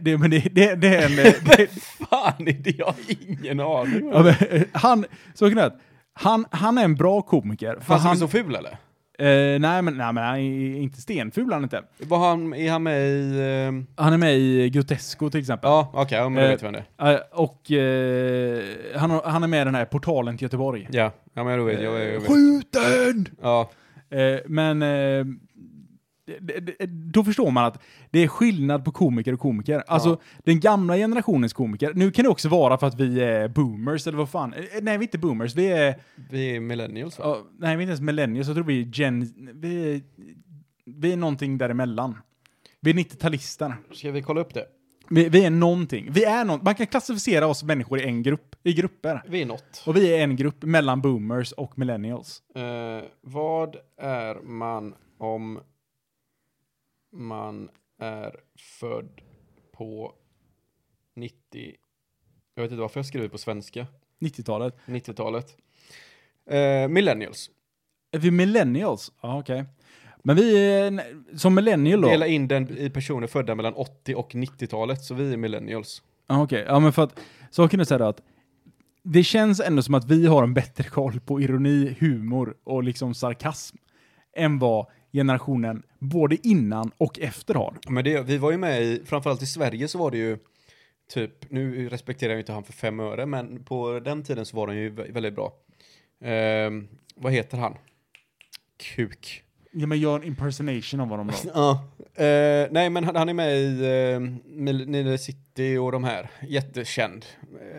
[SPEAKER 1] Det, men det, det, det är en... Det,
[SPEAKER 2] Fan är det? Jag har ingen aning.
[SPEAKER 1] ja, men, han, så knät. Han, han är en bra komiker. För
[SPEAKER 2] Fan, han är så ful eller?
[SPEAKER 1] Eh, nej, men, nej, men han är inte stenful han är inte.
[SPEAKER 2] Var han, är han med i... ehm,
[SPEAKER 1] Han är med i Grotesco till exempel.
[SPEAKER 2] Ja, okej, ja, men
[SPEAKER 1] Eh,
[SPEAKER 2] jag vet vem det är.
[SPEAKER 1] Eh, och eh, han, har- han är med i den här portalen till Göteborg.
[SPEAKER 2] Ja, ja men jag vet, jag vet. Jag vet.
[SPEAKER 1] Skjuten!
[SPEAKER 2] Ja,
[SPEAKER 1] Eh, men eh, det- det- då förstår man att det är skillnad på komiker och komiker. Alltså den gamla generationens komiker. Nu kan det också vara för att vi är boomers eller vad fan. Eh, nej, vi är inte boomers. Vi är...
[SPEAKER 2] vi är millennials va?
[SPEAKER 1] ja, nej, vi är inte ens millennials. Jag tror vi är gen... Vi är, vi är någonting däremellan. Vi är 90-talister.
[SPEAKER 2] Ska vi kolla upp det?
[SPEAKER 1] Vi, vi är någonting. Vi är någon, man kan klassificera oss människor i en grupp, i grupper.
[SPEAKER 2] Vi är något.
[SPEAKER 1] Och vi är en grupp mellan boomers och millennials.
[SPEAKER 2] Eh, vad är man om man är född på 90... Jag vet inte varför jag skriver på svenska.
[SPEAKER 1] 90-talet.
[SPEAKER 2] 90-talet. Eh, millennials.
[SPEAKER 1] Är vi millennials? Ja, okej. Men vi är, en- som millennial då?
[SPEAKER 2] Dela in den i personer födda mellan 80 och 90-talet, så vi är millennials.
[SPEAKER 1] Ja, okej. Ja, men för att saken är så här att det känns ändå som att vi har en bättre koll på ironi, humor och liksom sarkasm än vad generationen både innan och efter har.
[SPEAKER 2] Men det, vi var ju med i, framförallt i Sverige så var det ju typ, nu respekterar jag ju inte han för fem öre, men på den tiden så var han ju vä- väldigt bra. Ehm, vad heter han? Kuk.
[SPEAKER 1] Ja, men gör en impersonation av honom då.
[SPEAKER 2] Ja. Eh, nej, men han, han är med i uh, Nile City och de här. Jättekänd.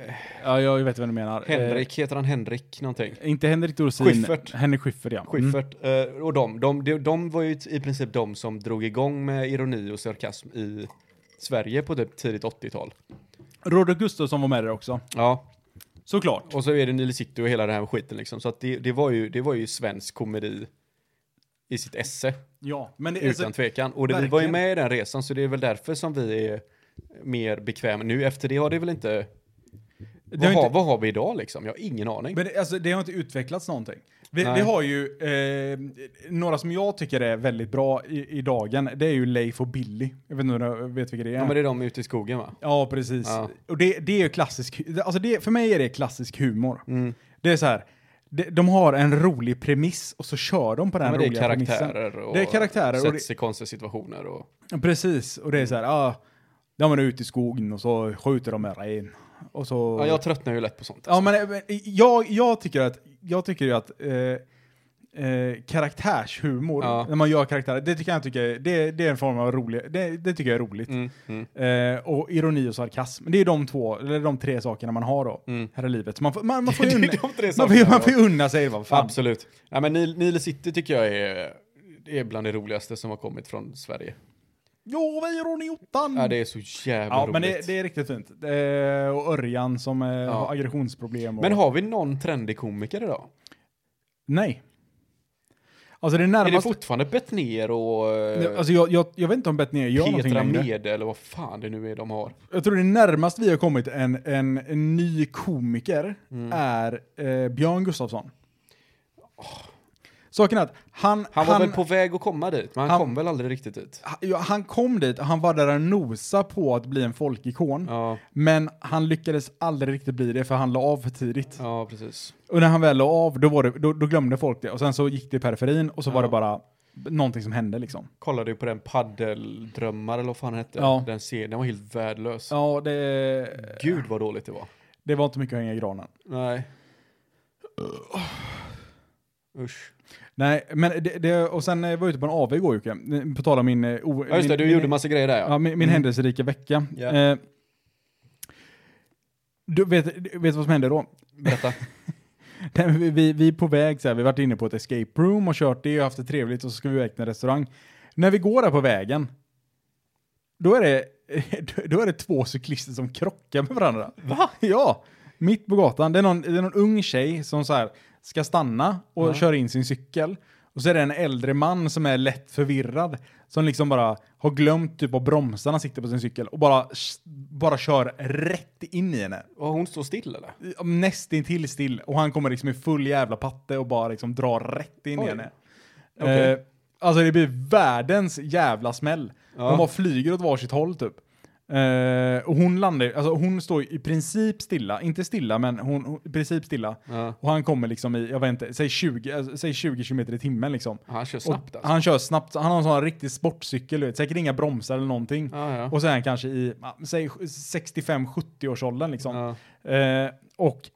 [SPEAKER 2] Eh,
[SPEAKER 1] Ja, jag vet vad du menar.
[SPEAKER 2] Henrik, heter han Henrik någonting?
[SPEAKER 1] Eh, inte Henrik Dorsin.
[SPEAKER 2] Schyffert.
[SPEAKER 1] Henrik Schyffert, ja. Mm.
[SPEAKER 2] Schyffert. Eh, och de, de, de, de var ju t- i princip de som drog igång med ironi och sarkasm i Sverige på typ tidigt 80-tal.
[SPEAKER 1] Robert Mm. Gustafsson var med där också.
[SPEAKER 2] Ja,
[SPEAKER 1] Såklart.
[SPEAKER 2] och så är det Nile City och hela den här skiten liksom. Så att det, det, var ju, det var ju svensk komedi i sitt esse,
[SPEAKER 1] Ja, men det,
[SPEAKER 2] utan
[SPEAKER 1] alltså,
[SPEAKER 2] tvekan. Och det, vi var ju
[SPEAKER 1] verkligen.
[SPEAKER 2] med i den resan, så det är väl därför som vi är mer bekväma. Nu efter det har det väl inte
[SPEAKER 1] det,
[SPEAKER 2] Vad,
[SPEAKER 1] har
[SPEAKER 2] har,
[SPEAKER 1] inte,
[SPEAKER 2] vad har vi idag liksom? Jag har ingen aning.
[SPEAKER 1] men det, alltså, det har inte utvecklats någonting. Vi,
[SPEAKER 2] Nej.
[SPEAKER 1] vi har ju eh, några som jag tycker är väldigt bra i, i dagen. Det är ju Leif och Billy. Jag vet inte om du vet vilka det är.
[SPEAKER 2] ja, men det är de ute i skogen va?
[SPEAKER 1] Ja, precis.
[SPEAKER 2] Ja.
[SPEAKER 1] Och det, det är ju klassisk, alltså det, för mig är det klassisk humor.
[SPEAKER 2] Mm.
[SPEAKER 1] Det är så här, de, de har en rolig premiss och så kör de på den
[SPEAKER 2] Ja, men det är
[SPEAKER 1] roliga premissen.
[SPEAKER 2] karaktärer och
[SPEAKER 1] Det är karaktärer och
[SPEAKER 2] sätts i konstiga situationer och...
[SPEAKER 1] Ja, Precis, och det är så här,
[SPEAKER 2] Mm.
[SPEAKER 1] ah, ja men ut i skogen och så skjuter de med ren. Och så...
[SPEAKER 2] Ja, jag tröttnar ju lätt på sånt.
[SPEAKER 1] Ja, men eh, men jag, jag tycker att, jag tycker ju att eh, eh, karaktärshumor,
[SPEAKER 2] Ja.
[SPEAKER 1] när man gör karaktärer, det tycker jag tycker, det, det är en form av rolig, det, det tycker jag är roligt.
[SPEAKER 2] Mm, mm,
[SPEAKER 1] Eh, och ironi och sarkasm. Det är de två, eller de tre sakerna man har då,
[SPEAKER 2] Mm.
[SPEAKER 1] här i livet. Så man, får- man, man får ju
[SPEAKER 2] Det är
[SPEAKER 1] unna,
[SPEAKER 2] de tre
[SPEAKER 1] man får, ju-
[SPEAKER 2] sakerna,
[SPEAKER 1] man får ju unna sig, vad fan.
[SPEAKER 2] Absolut. Nej, men Nile, Nile City tycker jag är, det är bland det roligaste som har kommit från Sverige.
[SPEAKER 1] Jo, vad gör hon i ottan?
[SPEAKER 2] Ja, det är så jävla
[SPEAKER 1] Ja,
[SPEAKER 2] roligt.
[SPEAKER 1] men det, det är riktigt fint. Eh, och Örjan som eh, har aggressionsproblem. Och...
[SPEAKER 2] Men har vi någon trendig komiker idag?
[SPEAKER 1] Nej. Alltså det är
[SPEAKER 2] Är det
[SPEAKER 1] närmast...
[SPEAKER 2] fortfarande Bettner och eh,
[SPEAKER 1] Nej, Alltså jag, jag, jag vet inte om Bettner gör någonting
[SPEAKER 2] Petra
[SPEAKER 1] längre.
[SPEAKER 2] Mede eller vad fan det nu är de har?
[SPEAKER 1] Jag tror det närmast vi har kommit en, en, en ny komiker
[SPEAKER 2] Mm.
[SPEAKER 1] är eh, Björn Gustafsson. Saken är att han...
[SPEAKER 2] Han, var väl på väg att komma dit, men han,
[SPEAKER 1] han-
[SPEAKER 2] kom väl aldrig riktigt dit?
[SPEAKER 1] ha- ja, han kom dit och han var där och nosa på att bli en folkikon.
[SPEAKER 2] Ja,
[SPEAKER 1] Men han lyckades aldrig riktigt bli det för han la av för tidigt.
[SPEAKER 2] ja precis.
[SPEAKER 1] Och när han väl la av, då, var det, då, då glömde folk det. Och sen så gick det i periferin och så var det bara någonting som hände liksom.
[SPEAKER 2] Kollade ju på den paddeldrömmar eller vad fan den hette.
[SPEAKER 1] Ja.
[SPEAKER 2] Den serien, den var helt värdelös.
[SPEAKER 1] Ja, det,
[SPEAKER 2] Gud vad dåligt det var.
[SPEAKER 1] det var inte mycket att hänga i granen.
[SPEAKER 2] Nej.
[SPEAKER 1] Uh.
[SPEAKER 2] Usch.
[SPEAKER 1] Nej, men det, det, och sen eh, var jag ute på en AW igår Jocke, på tal om min... eh, O,
[SPEAKER 2] Ja just det,
[SPEAKER 1] min,
[SPEAKER 2] du
[SPEAKER 1] min,
[SPEAKER 2] gjorde massa grejer där ja.
[SPEAKER 1] Ja, min, min händelserika vecka.
[SPEAKER 2] Ja.
[SPEAKER 1] Eh, du vet, vet du vad som hände då?
[SPEAKER 2] Berätta.
[SPEAKER 1] Nej, men Vi, vi, vi är på väg, så här, vi har varit inne på ett escape room och kört det och haft det trevligt och så ska vi iväg till en restaurang. När vi går där på vägen, då är det, då är det två cyklister som krockar med varandra. Va? Ja, mitt på gatan. Det är någon, det är någon ung tjej som så här, ska stanna och kör in sin cykel. Och så är det en äldre man som är lätt förvirrad. Som liksom bara har glömt typ var bromsarna sitter på sin cykel och bara, bara kör rätt in i henne
[SPEAKER 2] Var hon står still eller?
[SPEAKER 1] nästintill still och han kommer liksom i full jävla patte och bara liksom drar rätt in i
[SPEAKER 2] Oj.
[SPEAKER 1] henne.
[SPEAKER 2] Okej.
[SPEAKER 1] Eh, alltså det blir världens jävla smäll.
[SPEAKER 2] Ja.
[SPEAKER 1] De bara flyger åt varsitt håll typ. Eh, och hon landar ju- alltså hon står ju i princip stilla, inte stilla men hon, hon i princip stilla.
[SPEAKER 2] Ja.
[SPEAKER 1] Och han kommer liksom i, jag vet inte, säg 20, alltså, säg 20 km i timmen liksom.
[SPEAKER 2] Han kör
[SPEAKER 1] Och
[SPEAKER 2] snabbt alltså.
[SPEAKER 1] han kör snabbt, han har en sån här riktig sportcykel, du vet, säkert inga bromsar eller någonting.
[SPEAKER 2] Ja, ja.
[SPEAKER 1] Och så är han kanske i, ja, säg 65-70 årsåldern liksom.
[SPEAKER 2] Ja.
[SPEAKER 1] Eh, och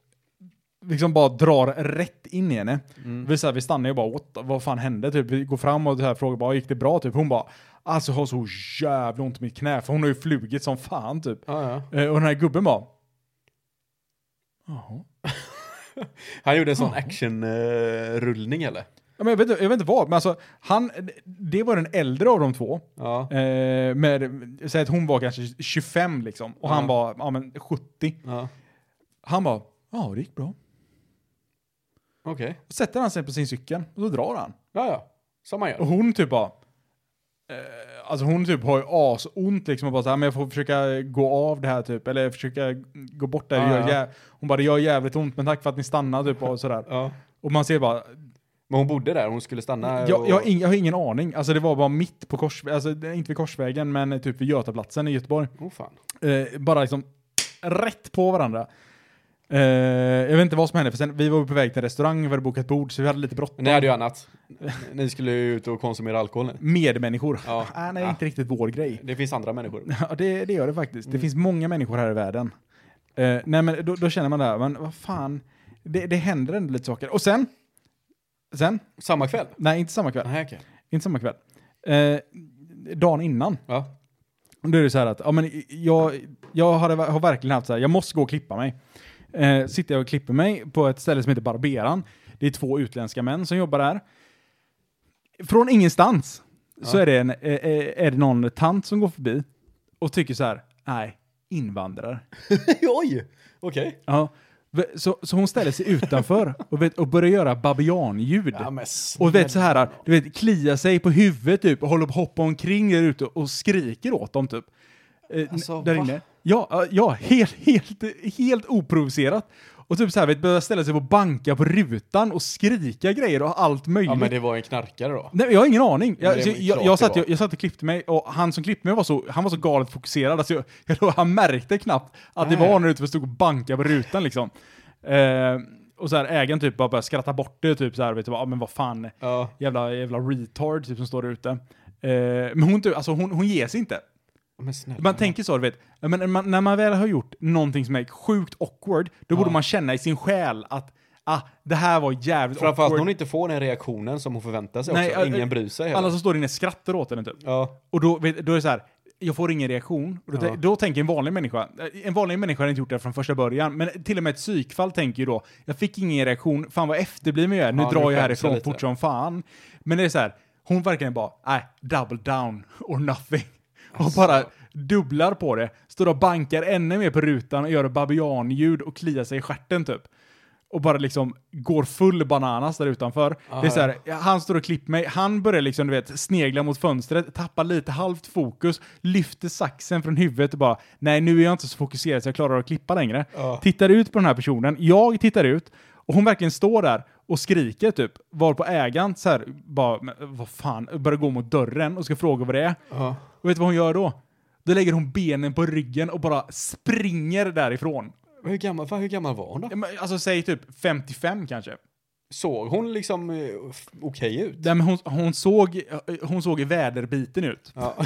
[SPEAKER 1] liksom bara drar rätt in i henne.
[SPEAKER 2] Mm.
[SPEAKER 1] Vi, så här, vi stannar ju bara, What, the- vad fan hände? Typ, vi går fram och så här, frågar bara, gick det bra? Typ. Hon bara, alltså jag har så jävla ont i mitt knä, för hon har ju flugit som fan typ.
[SPEAKER 2] Ja, ja.
[SPEAKER 1] Eh, och den här gubben bara, jaha.
[SPEAKER 2] Han gjorde en sån actionrullning eller?
[SPEAKER 1] Ja, men jag, vet, inte- jag vet inte vad, men alltså, han, det var den äldre av de två.
[SPEAKER 2] Ja.
[SPEAKER 1] Eh, med, säg att hon var kanske 25 liksom, och han
[SPEAKER 2] Ja.
[SPEAKER 1] var ja, men 70.
[SPEAKER 2] ja.
[SPEAKER 1] Han bara, ja det gick bra.
[SPEAKER 2] Okej.
[SPEAKER 1] Och sätter han sig på sin cykel och då drar han.
[SPEAKER 2] Ja, ja. Som man
[SPEAKER 1] Och
[SPEAKER 2] gör.
[SPEAKER 1] hon typ bara... Eh, alltså hon typ har ju asont liksom och bara så här, men jag får försöka gå av det här typ, eller försöka gå bort det här. Det
[SPEAKER 2] Ja,
[SPEAKER 1] gör
[SPEAKER 2] ja.
[SPEAKER 1] jä- hon bara, det gör jävligt ont men tack för att ni stannade typ och sådär.
[SPEAKER 2] Ja.
[SPEAKER 1] Och man ser bara,
[SPEAKER 2] Men hon bodde där, hon skulle stanna.
[SPEAKER 1] jag,
[SPEAKER 2] och...
[SPEAKER 1] jag, har ing, jag har ingen aning. Alltså det var bara mitt på korsvägen, alltså det är inte vid korsvägen men typ vid Götaplatsen i Göteborg.
[SPEAKER 2] Oh, fan.
[SPEAKER 1] Eh, bara liksom rätt på varandra. Eh, jag vet inte vad som hände, för sen, vi var ju på väg till en restaurang, vi hade bokat bord, så vi hade lite bråttom.
[SPEAKER 2] Ni hade ju annat. Ni skulle ju ut och konsumera alkohol. nu.
[SPEAKER 1] Medmänniskor.
[SPEAKER 2] Ja.
[SPEAKER 1] Ah, nej,
[SPEAKER 2] Ja.
[SPEAKER 1] inte riktigt vår grej.
[SPEAKER 2] Det finns andra människor.
[SPEAKER 1] Ja, det, det gör det faktiskt.
[SPEAKER 2] Mm.
[SPEAKER 1] Det finns många människor här i världen. Eh, nej, men då, då känner man det här, men vad fan, det, det händer ändå lite saker. Och sen, sen,
[SPEAKER 2] Samma kväll?
[SPEAKER 1] nej inte samma kväll,
[SPEAKER 2] Nej, okej.
[SPEAKER 1] inte samma kväll. Eh, dagen innan,
[SPEAKER 2] Ja.
[SPEAKER 1] då är det så här att, ja men jag, jag hade, har verkligen haft så här, jag måste gå och klippa mig. Eh, sitter jag och klipper mig på ett ställe som heter Barberan. Det är två utländska män som jobbar där. Från ingenstans så är det, en, eh, eh, är det någon tant som går förbi och tycker så här, nej, invandrare.
[SPEAKER 2] Oj! Okej.
[SPEAKER 1] Ja. V- Så, så hon ställer sig utanför och, vet, och börjar göra babianljud.
[SPEAKER 2] Ja, men
[SPEAKER 1] och vet så här, du vet, kliar sig på huvudet typ och håller på att hoppa omkring där ute och skriker åt dem typ. Eh,
[SPEAKER 2] Alltså,
[SPEAKER 1] där
[SPEAKER 2] va?
[SPEAKER 1] inne. Ja, ja, ja helt, helt, helt oprovocerat. Och typ så här, vet, börjar ställa sig och banka på rutan och skrika grejer och allt möjligt.
[SPEAKER 2] Ja, men det var en knarkare då.
[SPEAKER 1] Nej, men jag har ingen aning. Jag,
[SPEAKER 2] det
[SPEAKER 1] så
[SPEAKER 2] var ju
[SPEAKER 1] jag,
[SPEAKER 2] klart
[SPEAKER 1] jag,
[SPEAKER 2] det
[SPEAKER 1] satt,
[SPEAKER 2] var.
[SPEAKER 1] jag, jag satt och klippte mig och han som klippte mig var så, han var så galet fokuserad. Alltså jag, jag, tror han märkte knappt att det
[SPEAKER 2] Nej.
[SPEAKER 1] var någon ute som stod och bankade på rutan liksom. Eh, och så här, ägaren typ bara började skratta bort det, typ så här, vet du, ja men vad fan,
[SPEAKER 2] Ja.
[SPEAKER 1] jävla, jävla retard typ som står där ute. Eh, men hon, typ- alltså, hon, hon ger sig inte.
[SPEAKER 2] Men snälla.
[SPEAKER 1] Man tänker så, du vet. Ja, Men när man, när man väl har gjort någonting som är sjukt awkward, då borde man känna i sin själ att ah, det här var jävligt
[SPEAKER 2] Framförallt när hon inte får den reaktionen som hon förväntar sig
[SPEAKER 1] Nej,
[SPEAKER 2] också.
[SPEAKER 1] äh,
[SPEAKER 2] Ingen
[SPEAKER 1] äh,
[SPEAKER 2] bryr sig heller.
[SPEAKER 1] Alla som står inne skrattar åt henne typ.
[SPEAKER 2] Ja,
[SPEAKER 1] Och då, vet- då är det så här, jag får ingen reaktion. Och då,
[SPEAKER 2] Ja.
[SPEAKER 1] då tänker en vanlig människa, eh, en vanlig människa har inte gjort det från första början, men till och med ett psykfall tänker ju då, jag fick ingen reaktion, fan vad efterbliven jag är, nu
[SPEAKER 2] Ja, nu
[SPEAKER 1] drar
[SPEAKER 2] skäms
[SPEAKER 1] jag
[SPEAKER 2] jag
[SPEAKER 1] härifrån
[SPEAKER 2] lite.
[SPEAKER 1] fort som fan. Men det är så här, hon verkligen bara, nej, double down or nothing. Och
[SPEAKER 2] Alltså.
[SPEAKER 1] bara dubblar på det, står och bankar ännu mer på rutan och gör babianljud och kliar sig i stjärten typ. Och bara liksom går full bananas där utanför. det är så här, han står och klipper mig, han börjar liksom du vet snegla mot fönstret, tappar lite halvt fokus, lyfter saxen från huvudet och bara nej nu är jag inte så fokuserad så jag klarar att klippa längre. Tittar ut på den här personen, jag tittar ut och hon verkligen står där och skriker typ, varpå ägaren så här bara, "Men vad fan, börjar gå mot dörren och ska fråga vad det är. Och vet du vad hon gör då? Då lägger hon benen på ryggen och bara springer därifrån.
[SPEAKER 2] Men hur gammal, fan, hur gammal var hon då?
[SPEAKER 1] Ja, men Alltså säg typ 55 kanske.
[SPEAKER 2] Såg hon liksom eh, f- okej ut?
[SPEAKER 1] Nej, men hon, hon, såg, hon såg i väderbiten ut.
[SPEAKER 2] Ja.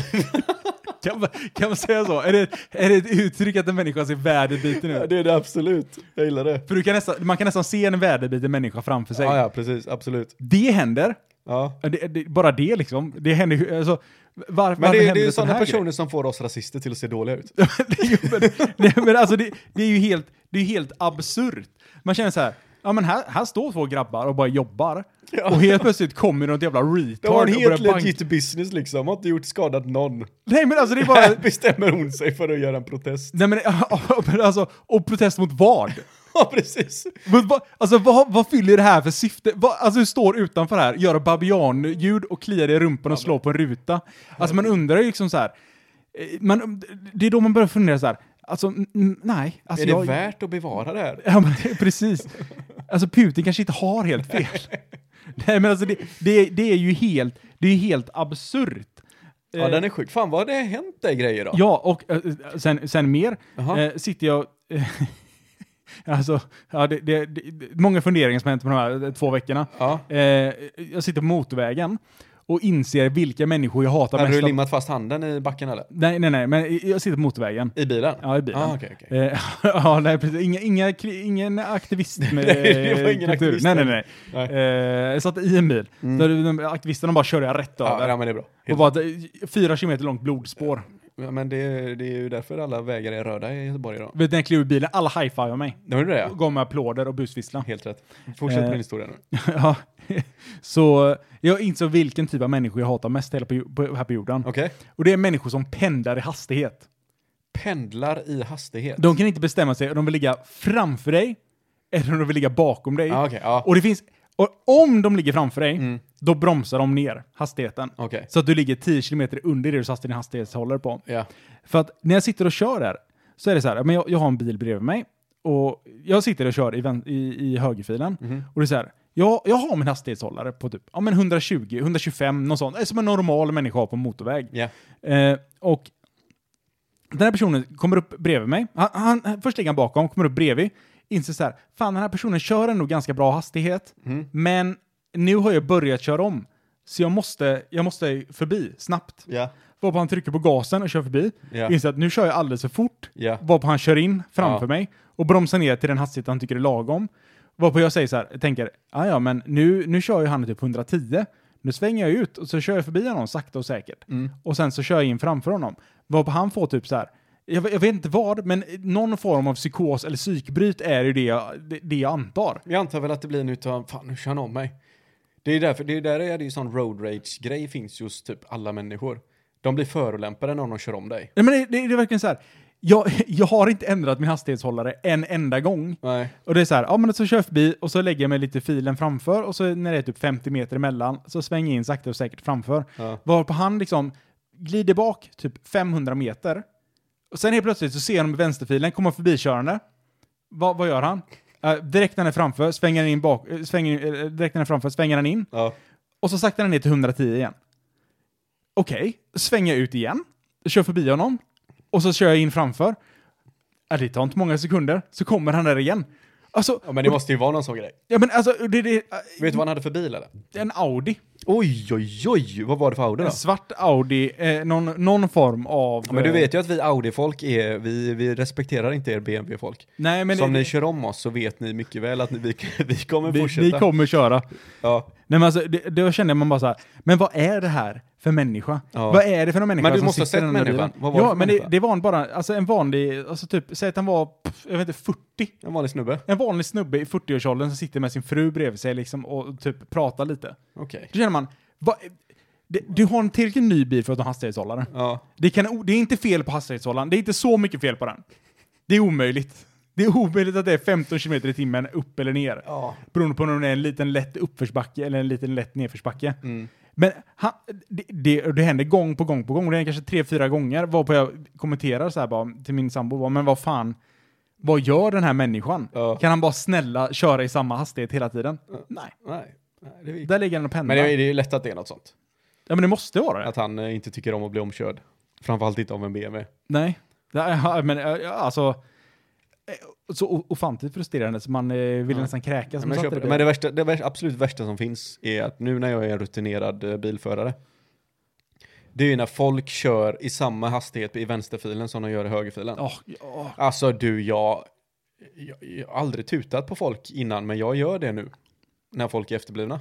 [SPEAKER 1] Kan, man- kan man säga så? Är det, är det ett uttryck att en människa ser väderbiten ut?
[SPEAKER 2] det är det absolut. Jag gillar det.
[SPEAKER 1] För du kan nästan, man kan nästan se en väderbiten människa framför sig.
[SPEAKER 2] Ja, ja, precis. Absolut.
[SPEAKER 1] Det händer.
[SPEAKER 2] Ja.
[SPEAKER 1] Det, det, bara det liksom. Det händer ju- alltså, var, varför
[SPEAKER 2] Men det, är-
[SPEAKER 1] händer
[SPEAKER 2] det är
[SPEAKER 1] sån
[SPEAKER 2] ju sådana
[SPEAKER 1] här
[SPEAKER 2] personer som får oss rasister till att se dåliga ut.
[SPEAKER 1] det är ju, men, nej, men alltså det, det är ju helt, det är ju helt absurt. Man känner så här, ja men här, här står två grabbar och bara jobbar. Och helt plötsligt kommer något jävla retard
[SPEAKER 2] Det var
[SPEAKER 1] och
[SPEAKER 2] en
[SPEAKER 1] börjar
[SPEAKER 2] helt
[SPEAKER 1] banka.
[SPEAKER 2] legit business liksom. Har inte gjort skadat någon.
[SPEAKER 1] Nej men alltså det är bara,
[SPEAKER 2] Här bestämmer hon sig för att göra en protest.
[SPEAKER 1] nej men men alltså, och protest mot vad?
[SPEAKER 2] Ja, precis.
[SPEAKER 1] Men vad- Alltså vad, vad fyller det här för syfte? Vad- alltså du står utanför här, gör babianljud och kliar dig i rumpan och slår på en ruta. Alltså man undrar ju liksom så här. eh, Man, det är då man börjar fundera så här. Alltså n- n- nej. Alltså,
[SPEAKER 2] är det
[SPEAKER 1] jag-
[SPEAKER 2] värt att bevara det här?
[SPEAKER 1] Ja, men det- precis. Alltså Putin kanske inte har helt fel. Nej, men alltså det, det, det är ju helt, det är ju helt absurt.
[SPEAKER 2] Ja, den är sjuk. Fan, vad har det hänt dig grejer då?
[SPEAKER 1] Ja, och eh, sen, sen mer
[SPEAKER 2] Jaha.
[SPEAKER 1] eh, sitter jag... eh, Alltså, ja, det, det, det, många funderingar som har hänt på de här eh, två veckorna.
[SPEAKER 2] Ja.
[SPEAKER 1] Eh, jag sitter på motorvägen och inser vilka människor jag hatar
[SPEAKER 2] Hade
[SPEAKER 1] mest.
[SPEAKER 2] du
[SPEAKER 1] av-
[SPEAKER 2] limmat fast handen i backen eller?
[SPEAKER 1] nej, nej, nej, men jag sitter på motorvägen.
[SPEAKER 2] I bilen?
[SPEAKER 1] Ja, i bilen.
[SPEAKER 2] Ah, okej, okej.
[SPEAKER 1] Eh, ja, nej, precis. Inga, inga, kli- ingen aktivist med
[SPEAKER 2] Nej, det var
[SPEAKER 1] eh,
[SPEAKER 2] ingen
[SPEAKER 1] kultur.
[SPEAKER 2] aktivist.
[SPEAKER 1] Nej, nej, nej.
[SPEAKER 2] Nej. Mm.
[SPEAKER 1] Eh, jag satt i en bil. Där de, aktivisterna bara körde jag rätt
[SPEAKER 2] Ja,
[SPEAKER 1] över.
[SPEAKER 2] ja, men det är bra.
[SPEAKER 1] och bara, eh, fyra kilometer långt blodspår.
[SPEAKER 2] Ja, men det, är- det är ju därfur alla vägar är röda i Göteborg idag.
[SPEAKER 1] Vet du, när jag klev ur bilen, alla high-fivar mig.
[SPEAKER 2] Det var det ja.
[SPEAKER 1] Och gav mig applåder och busvissla.
[SPEAKER 2] Helt rätt. Fortsätt
[SPEAKER 1] Eh.
[SPEAKER 2] med din historia nu.
[SPEAKER 1] ja. Så eh, jag insåg vilken typ av människor jag hatar mest hela på, ju- på, här på jorden.
[SPEAKER 2] Okej.
[SPEAKER 1] Och det är människor som pendlar i hastighet.
[SPEAKER 2] Pendlar i hastighet.
[SPEAKER 1] De kan inte bestämma sig om de vill ligga framför dig eller om de vill ligga bakom dig.
[SPEAKER 2] Ja, Ah, okej. ja.
[SPEAKER 1] Och det finns... Och om de ligger framför dig, då bromsar de ner hastigheten.
[SPEAKER 2] Okej.
[SPEAKER 1] Så att du ligger 10 km under det du satte din hastighetshållare på.
[SPEAKER 2] Ja.
[SPEAKER 1] För att när jag sitter och kör där, så är det så här, men jag, jag har en bil bredvid mig och jag sitter och kör i, vän- i, i högerfilen. Och det är så här, jag, jag har min hastighetshållare på typ ja, men 120, 125, någon sån. Det är Som en normal människa har på en motorväg.
[SPEAKER 2] Ja.
[SPEAKER 1] Eh, och den här personen kommer upp bredvid mig. Han, han, han- först ligger han bakom, kommer upp bredvid. Inser så här, fan den här personen kör ändå ganska bra hastighet. Men nu har jag börjat köra om. Så jag måste, jag måste förbi snabbt.
[SPEAKER 2] Ja.
[SPEAKER 1] Varpå han trycker på gasen och kör förbi.
[SPEAKER 2] Ja.
[SPEAKER 1] Inser att nu kör jag alldeles för fort.
[SPEAKER 2] Ja.
[SPEAKER 1] Varpå han kör in framför
[SPEAKER 2] Ja.
[SPEAKER 1] mig och bromsar ner till den hastighet han tycker är lagom. Varpå jag säger så här, tänker, "Ah, ja men nu, nu kör ju han typ 110. Nu svänger jag ut och så kör jag förbi honom sakta och säkert.
[SPEAKER 2] Mm.
[SPEAKER 1] Och sen så kör jag in framför honom. Varpå han får typ så här, jag, vet- jag vet inte vad, men någon form av psykos eller psykbryt är ju det jag, det, det jag antar.
[SPEAKER 2] Jag antar väl att det blir nu utan, fan nu kör han om mig. Det är därför, det är där är det ju sån road rage-grej finns just typ alla människor. De blir förolämpade när någon kör om dig.
[SPEAKER 1] Nej, men det, det, det är verkligen så här, jag, jag har inte ändrat min hastighetshållare en enda gång.
[SPEAKER 2] Nej.
[SPEAKER 1] Och det är så här, ja men så kör jag förbi och så lägger jag mig lite i filen framför och så när det är typ 50 meter emellan så svänger jag in sakta och säkert framför.
[SPEAKER 2] Ja.
[SPEAKER 1] Varpå han liksom glider bak typ 500 meter. Och sen helt plötsligt så ser jag honom i vänsterfilen komma förbikörande. Va, vad gör han? Eh, direkt när han är framför svänger han in bak, eh, svänger, eh, direkt när han är framför svänger han in
[SPEAKER 2] Ja.
[SPEAKER 1] och så saktar han ner till 110 igen. Okej, svänger jag ut igen, kör förbi honom och så kör jag in framför. Äh, det tar inte många sekunder, så kommer han där igen. Alltså,
[SPEAKER 2] Ja, men det måste ju vara någon sån grej.
[SPEAKER 1] ja, men alltså det, det,
[SPEAKER 2] Vet du vad han hade för bil eller?
[SPEAKER 1] en Audi.
[SPEAKER 2] Oj, oj, oj! Vad var det för Audi då?
[SPEAKER 1] En svart Audi, eh, någon, någon form av...
[SPEAKER 2] Ja, men du
[SPEAKER 1] eh,
[SPEAKER 2] vet ju att vi Audi-folk är, vi, vi respekterar inte er BMW-folk.
[SPEAKER 1] Nej, men
[SPEAKER 2] Som
[SPEAKER 1] det,
[SPEAKER 2] ni kör om oss så vet ni mycket väl att ni, vi, vi kommer
[SPEAKER 1] vi,
[SPEAKER 2] fortsätta.
[SPEAKER 1] vi kommer köra.
[SPEAKER 2] ja.
[SPEAKER 1] Nej, men alltså, det, då kände man bara så här, men vad är det här för människa?
[SPEAKER 2] Ja.
[SPEAKER 1] Vad är det för någon människa
[SPEAKER 2] Men du
[SPEAKER 1] som
[SPEAKER 2] måste ha
[SPEAKER 1] sitter i
[SPEAKER 2] sett
[SPEAKER 1] den här
[SPEAKER 2] människan.
[SPEAKER 1] bilen?
[SPEAKER 2] Vad var det
[SPEAKER 1] ja,
[SPEAKER 2] för
[SPEAKER 1] men det,
[SPEAKER 2] människa?
[SPEAKER 1] det var en bara, alltså en vanlig, alltså typ, säg att han var, pff, jag vet inte, 40.
[SPEAKER 2] En vanlig snubbe.
[SPEAKER 1] En vanlig snubbe i 40-årsåldern som sitter med sin fru bredvid sig liksom och typ pratar lite.
[SPEAKER 2] Okej.
[SPEAKER 1] Då känner man, vad- det, du har en tillräckligt ny bil för att ha hastighetshållare.
[SPEAKER 2] Ja.
[SPEAKER 1] Det, kan, det är inte fel på hastighetshållaren, det är inte så mycket fel på den. Det är omöjligt. Det är omöjligt att det är 15 km i timmen upp eller ner.
[SPEAKER 2] Ja.
[SPEAKER 1] Beroende på om det är en liten lätt uppförsbacke eller en liten lätt nedförsbacke.
[SPEAKER 2] Mm.
[SPEAKER 1] Men han, det, det, det händer gång på gång på gång, det händer kanske tre, fyra gånger, varpå jag kommenterar så här bara till min sambo, bara, men vad fan, vad gör den här människan?
[SPEAKER 2] Ja.
[SPEAKER 1] Kan han bara snälla köra i samma hastighet hela tiden? Nej.
[SPEAKER 2] Nej. Nej, det är vi-
[SPEAKER 1] Där ligger den och pendlar.
[SPEAKER 2] men det är det är ju lätt att det är något sånt.
[SPEAKER 1] Ja men det måste vara det.
[SPEAKER 2] Att han eh, inte tycker om att bli omkörd. Framförallt inte av en BMW.
[SPEAKER 1] Nej. Det är, ja, men eh, ja, alltså, eh, så o- ofantligt frustrerande så man eh, vill nästan kräkas. man
[SPEAKER 2] Men, jag
[SPEAKER 1] satt i
[SPEAKER 2] köper det.
[SPEAKER 1] det.
[SPEAKER 2] men det, värsta, det värsta, absolut värsta som finns är att nu när jag är en rutinerad eh, bilförare, det är ju när folk kör i samma hastighet i vänsterfilen som de gör i högerfilen.
[SPEAKER 1] Åh, ja.
[SPEAKER 2] Alltså du, jag, jag, jag har aldrig tutat på folk innan, men jag gör det nu. När folk är efterblivna.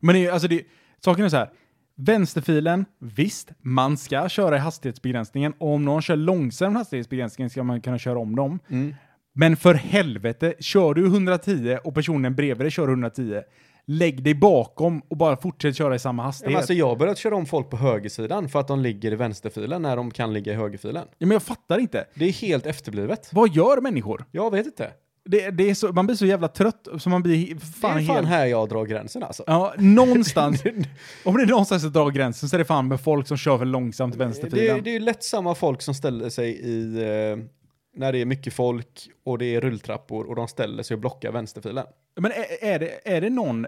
[SPEAKER 1] Men det, är- alltså det, saken är så här. Vänsterfilen, visst, man ska köra i hastighetsbegränsningen och om någon kör långsam hastighetsbegränsningen ska man kunna köra om dem.
[SPEAKER 2] Mm.
[SPEAKER 1] Men för helvete, kör du 110 och personen bredvid dig kör 110, lägg dig bakom och bara fortsätt köra i samma
[SPEAKER 2] Ja, men
[SPEAKER 1] hastighet.
[SPEAKER 2] alltså jag har börjat köra om folk på högersidan för att de ligger i vänsterfilen när de kan ligga i högerfilen.
[SPEAKER 1] Ja, men jag fattar inte.
[SPEAKER 2] Det är helt efterblivet.
[SPEAKER 1] Vad gör människor?
[SPEAKER 2] Jag vet inte.
[SPEAKER 1] Det, det är så, man blir så jävla trött så man blir fan,
[SPEAKER 2] det är fan
[SPEAKER 1] helt...
[SPEAKER 2] här jag drar gränsen alltså.
[SPEAKER 1] Ja, någonstans. om det är någonstans som drar gränsen så är det fan med folk som kör för långsamt i
[SPEAKER 2] Det, är-
[SPEAKER 1] vänsterfilen.
[SPEAKER 2] det är ju lätt samma folk som ställer sig i, eh, när det är mycket folk och det är rulltrappor och de ställer sig och blockar vänsterfilen.
[SPEAKER 1] Men är, är, det, är det någon...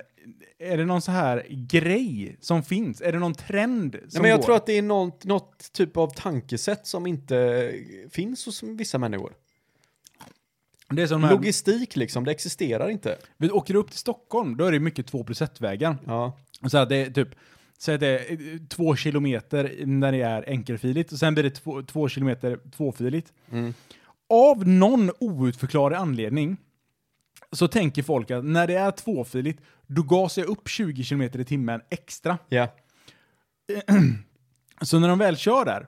[SPEAKER 1] Är det någon så här grej som finns? Är det någon trend som
[SPEAKER 2] Nej, men jag
[SPEAKER 1] går?
[SPEAKER 2] tror att det är något, något typ av tankesätt som inte finns hos vissa människor.
[SPEAKER 1] det är som de här,
[SPEAKER 2] Logistik liksom, det existerar inte.
[SPEAKER 1] vi åker upp till Stockholm, då är det mycket två plus ett-vägar.
[SPEAKER 2] Ja,
[SPEAKER 1] Så att det är typ, säg att det är eh, två kilometer när det är enkelfiligt och sen blir det två, två kilometer tvåfiligt.
[SPEAKER 2] Mm.
[SPEAKER 1] Av någon outförklarlig anledning så tänker folk att när det är tvåfiligt, då gasar jag upp 20 kilometer i timmen extra.
[SPEAKER 2] ja,
[SPEAKER 1] Så när de väl kör där,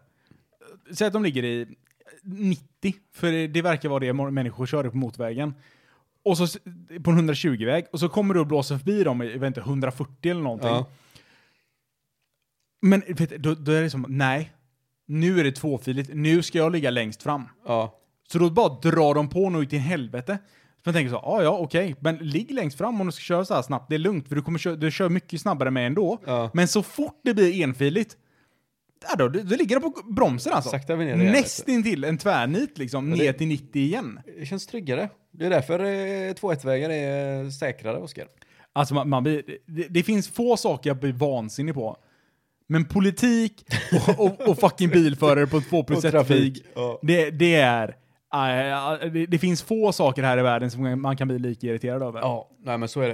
[SPEAKER 1] säg att de ligger i 90, för det- det verkar vara det mor- människor kör på motorvägen. Och så s- på en 120-väg, och så kommer du och blåser förbi dem i jag vet inte, 140 eller någonting.
[SPEAKER 2] ja.
[SPEAKER 1] Men vet, du, då, då är det som, nej, nu är det tvåfiligt, nu ska jag ligga längst fram.
[SPEAKER 2] ja.
[SPEAKER 1] Så då bara drar de på nog ut i helvete. Så man tänker så, ah, ja okej, men ligg längst fram om du ska köra så här snabbt, det är lugnt för du kommer köra, du kör mycket snabbare med ändå.
[SPEAKER 2] Ja.
[SPEAKER 1] Men så fort det blir enfiligt, där då, du, du ligger på bromsen alltså.
[SPEAKER 2] Sakta vi ner det,
[SPEAKER 1] Nästintill en tvärnit liksom,
[SPEAKER 2] det-
[SPEAKER 1] ner till 90 igen.
[SPEAKER 2] Det känns tryggare. Det är därför eh, 2-1-vägar är säkrare, Oskar.
[SPEAKER 1] Alltså man, man blir, det, det finns få saker jag blir vansinnig på. Men politik och, och, och fucking bilförare på ett 2 plus
[SPEAKER 2] Och
[SPEAKER 1] 1-väg,
[SPEAKER 2] trafik, ja.
[SPEAKER 1] det, det är... eh, det, det finns få saker här i världen som man kan bli lika irriterad över.
[SPEAKER 2] Ja, nej men så är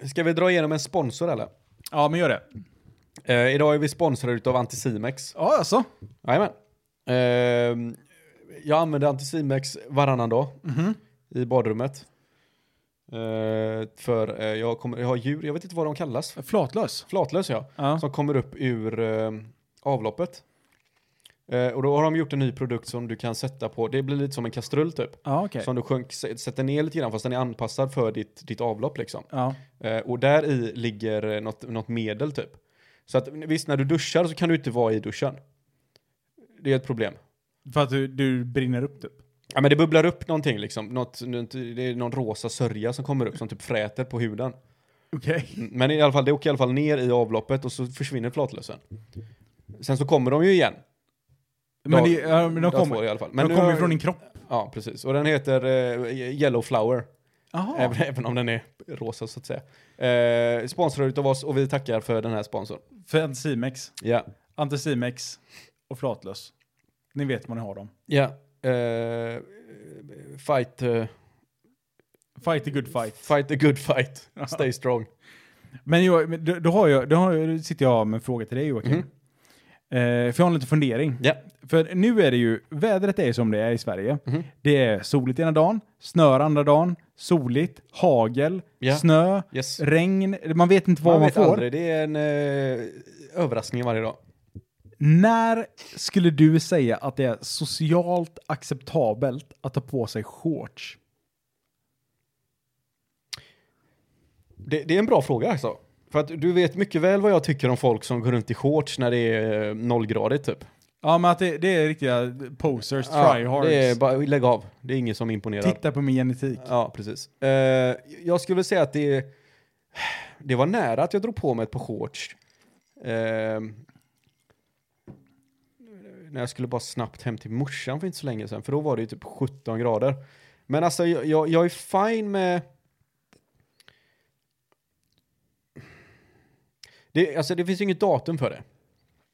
[SPEAKER 2] det. Ska vi dra igenom en sponsor eller?
[SPEAKER 1] Ja, men gör det.
[SPEAKER 2] Eh, idag är vi sponsrade utav Anticimex.
[SPEAKER 1] Ja, alltså.
[SPEAKER 2] Jajamän. Eh, jag använder Anticimex varannan dag i badrummet. Eh, för eh, jag, kommer, jag har djur, jag vet inte vad de kallas.
[SPEAKER 1] Flatlös.
[SPEAKER 2] Flatlös ja.
[SPEAKER 1] Ja.
[SPEAKER 2] som kommer upp ur eh, avloppet. Eh, och då har de gjort en ny produkt som du kan sätta på, det blir lite som en kastrull typ.
[SPEAKER 1] Ja, okej.
[SPEAKER 2] Som du sjönk, s- sätter ner lite grann fast den är anpassad för ditt, ditt avlopp liksom.
[SPEAKER 1] Ja.
[SPEAKER 2] Eh, och där i ligger eh, något, något medel typ. Så att visst, när du duschar så kan du inte vara i duschen. Det är ett problem.
[SPEAKER 1] För att du, du brinner upp typ.
[SPEAKER 2] Ja men det bubblar upp någonting liksom, något, något, det är någon rosa sörja som kommer upp som typ fräter på huden.
[SPEAKER 1] Okej.
[SPEAKER 2] Mm, Men i alla fall, det åker i alla fall ner i avloppet och så försvinner flatlösen. Sen så kommer de ju igen.
[SPEAKER 1] Men,
[SPEAKER 2] Dag-
[SPEAKER 1] det- ja, men de
[SPEAKER 2] dag två i
[SPEAKER 1] kommer
[SPEAKER 2] alla fall.
[SPEAKER 1] de
[SPEAKER 2] nu
[SPEAKER 1] kommer
[SPEAKER 2] har-
[SPEAKER 1] ju från din kropp.
[SPEAKER 2] Ja, precis. Och den heter eh, Yellow Flower.
[SPEAKER 1] Jaha.
[SPEAKER 2] Även, även om den är rosa så att säga. Eh, sponsrad utav oss och vi tackar för den här sponsorn.
[SPEAKER 1] För Anticimex.
[SPEAKER 2] Ja.
[SPEAKER 1] Anticimex och flatlös. Ni vet var ni har dem.
[SPEAKER 2] Ja. Eh, fight... Eh,
[SPEAKER 1] Fight the good fight.
[SPEAKER 2] Fight the good fight. Stay strong.
[SPEAKER 1] Men jo, men då, då, har jag, då, har jag, då sitter jag med en fråga till dig Joakim.
[SPEAKER 2] Mhm.
[SPEAKER 1] Eh, för jag har en liten fundering.
[SPEAKER 2] Ja.
[SPEAKER 1] För nu är det ju, vädret är som det är i Sverige.
[SPEAKER 2] Mhm.
[SPEAKER 1] Det är soligt ena dagen, snör andra dagen, soligt, hagel,
[SPEAKER 2] Ja.
[SPEAKER 1] snö,
[SPEAKER 2] Yes.
[SPEAKER 1] regn. Man vet inte vad man,
[SPEAKER 2] vet
[SPEAKER 1] får.
[SPEAKER 2] aldrig. Det är en eh, överraskning varje dag.
[SPEAKER 1] När skulle du säga att det är socialt acceptabelt att ta på sig shorts?
[SPEAKER 2] Det, det är en bra fråga alltså. För att du vet mycket väl vad jag tycker om folk som går runt i shorts när det är eh, nollgradigt typ.
[SPEAKER 1] Ja, men att det, det är riktiga posers,
[SPEAKER 2] Ja,
[SPEAKER 1] tryhards.
[SPEAKER 2] det är bara, lägg av. Det är ingen som imponerar.
[SPEAKER 1] Titta på min genetik.
[SPEAKER 2] Ja, precis. Eh, jag skulle säga att det, det var nära att jag drog på mig ett par shorts. Eh, när jag skulle bara snabbt hem till morsan för inte så länge sedan, för då var det ju typ 17 grader. Men alltså, jag, jag, jag är fine med... Det, alltså, det finns ju inget datum för det.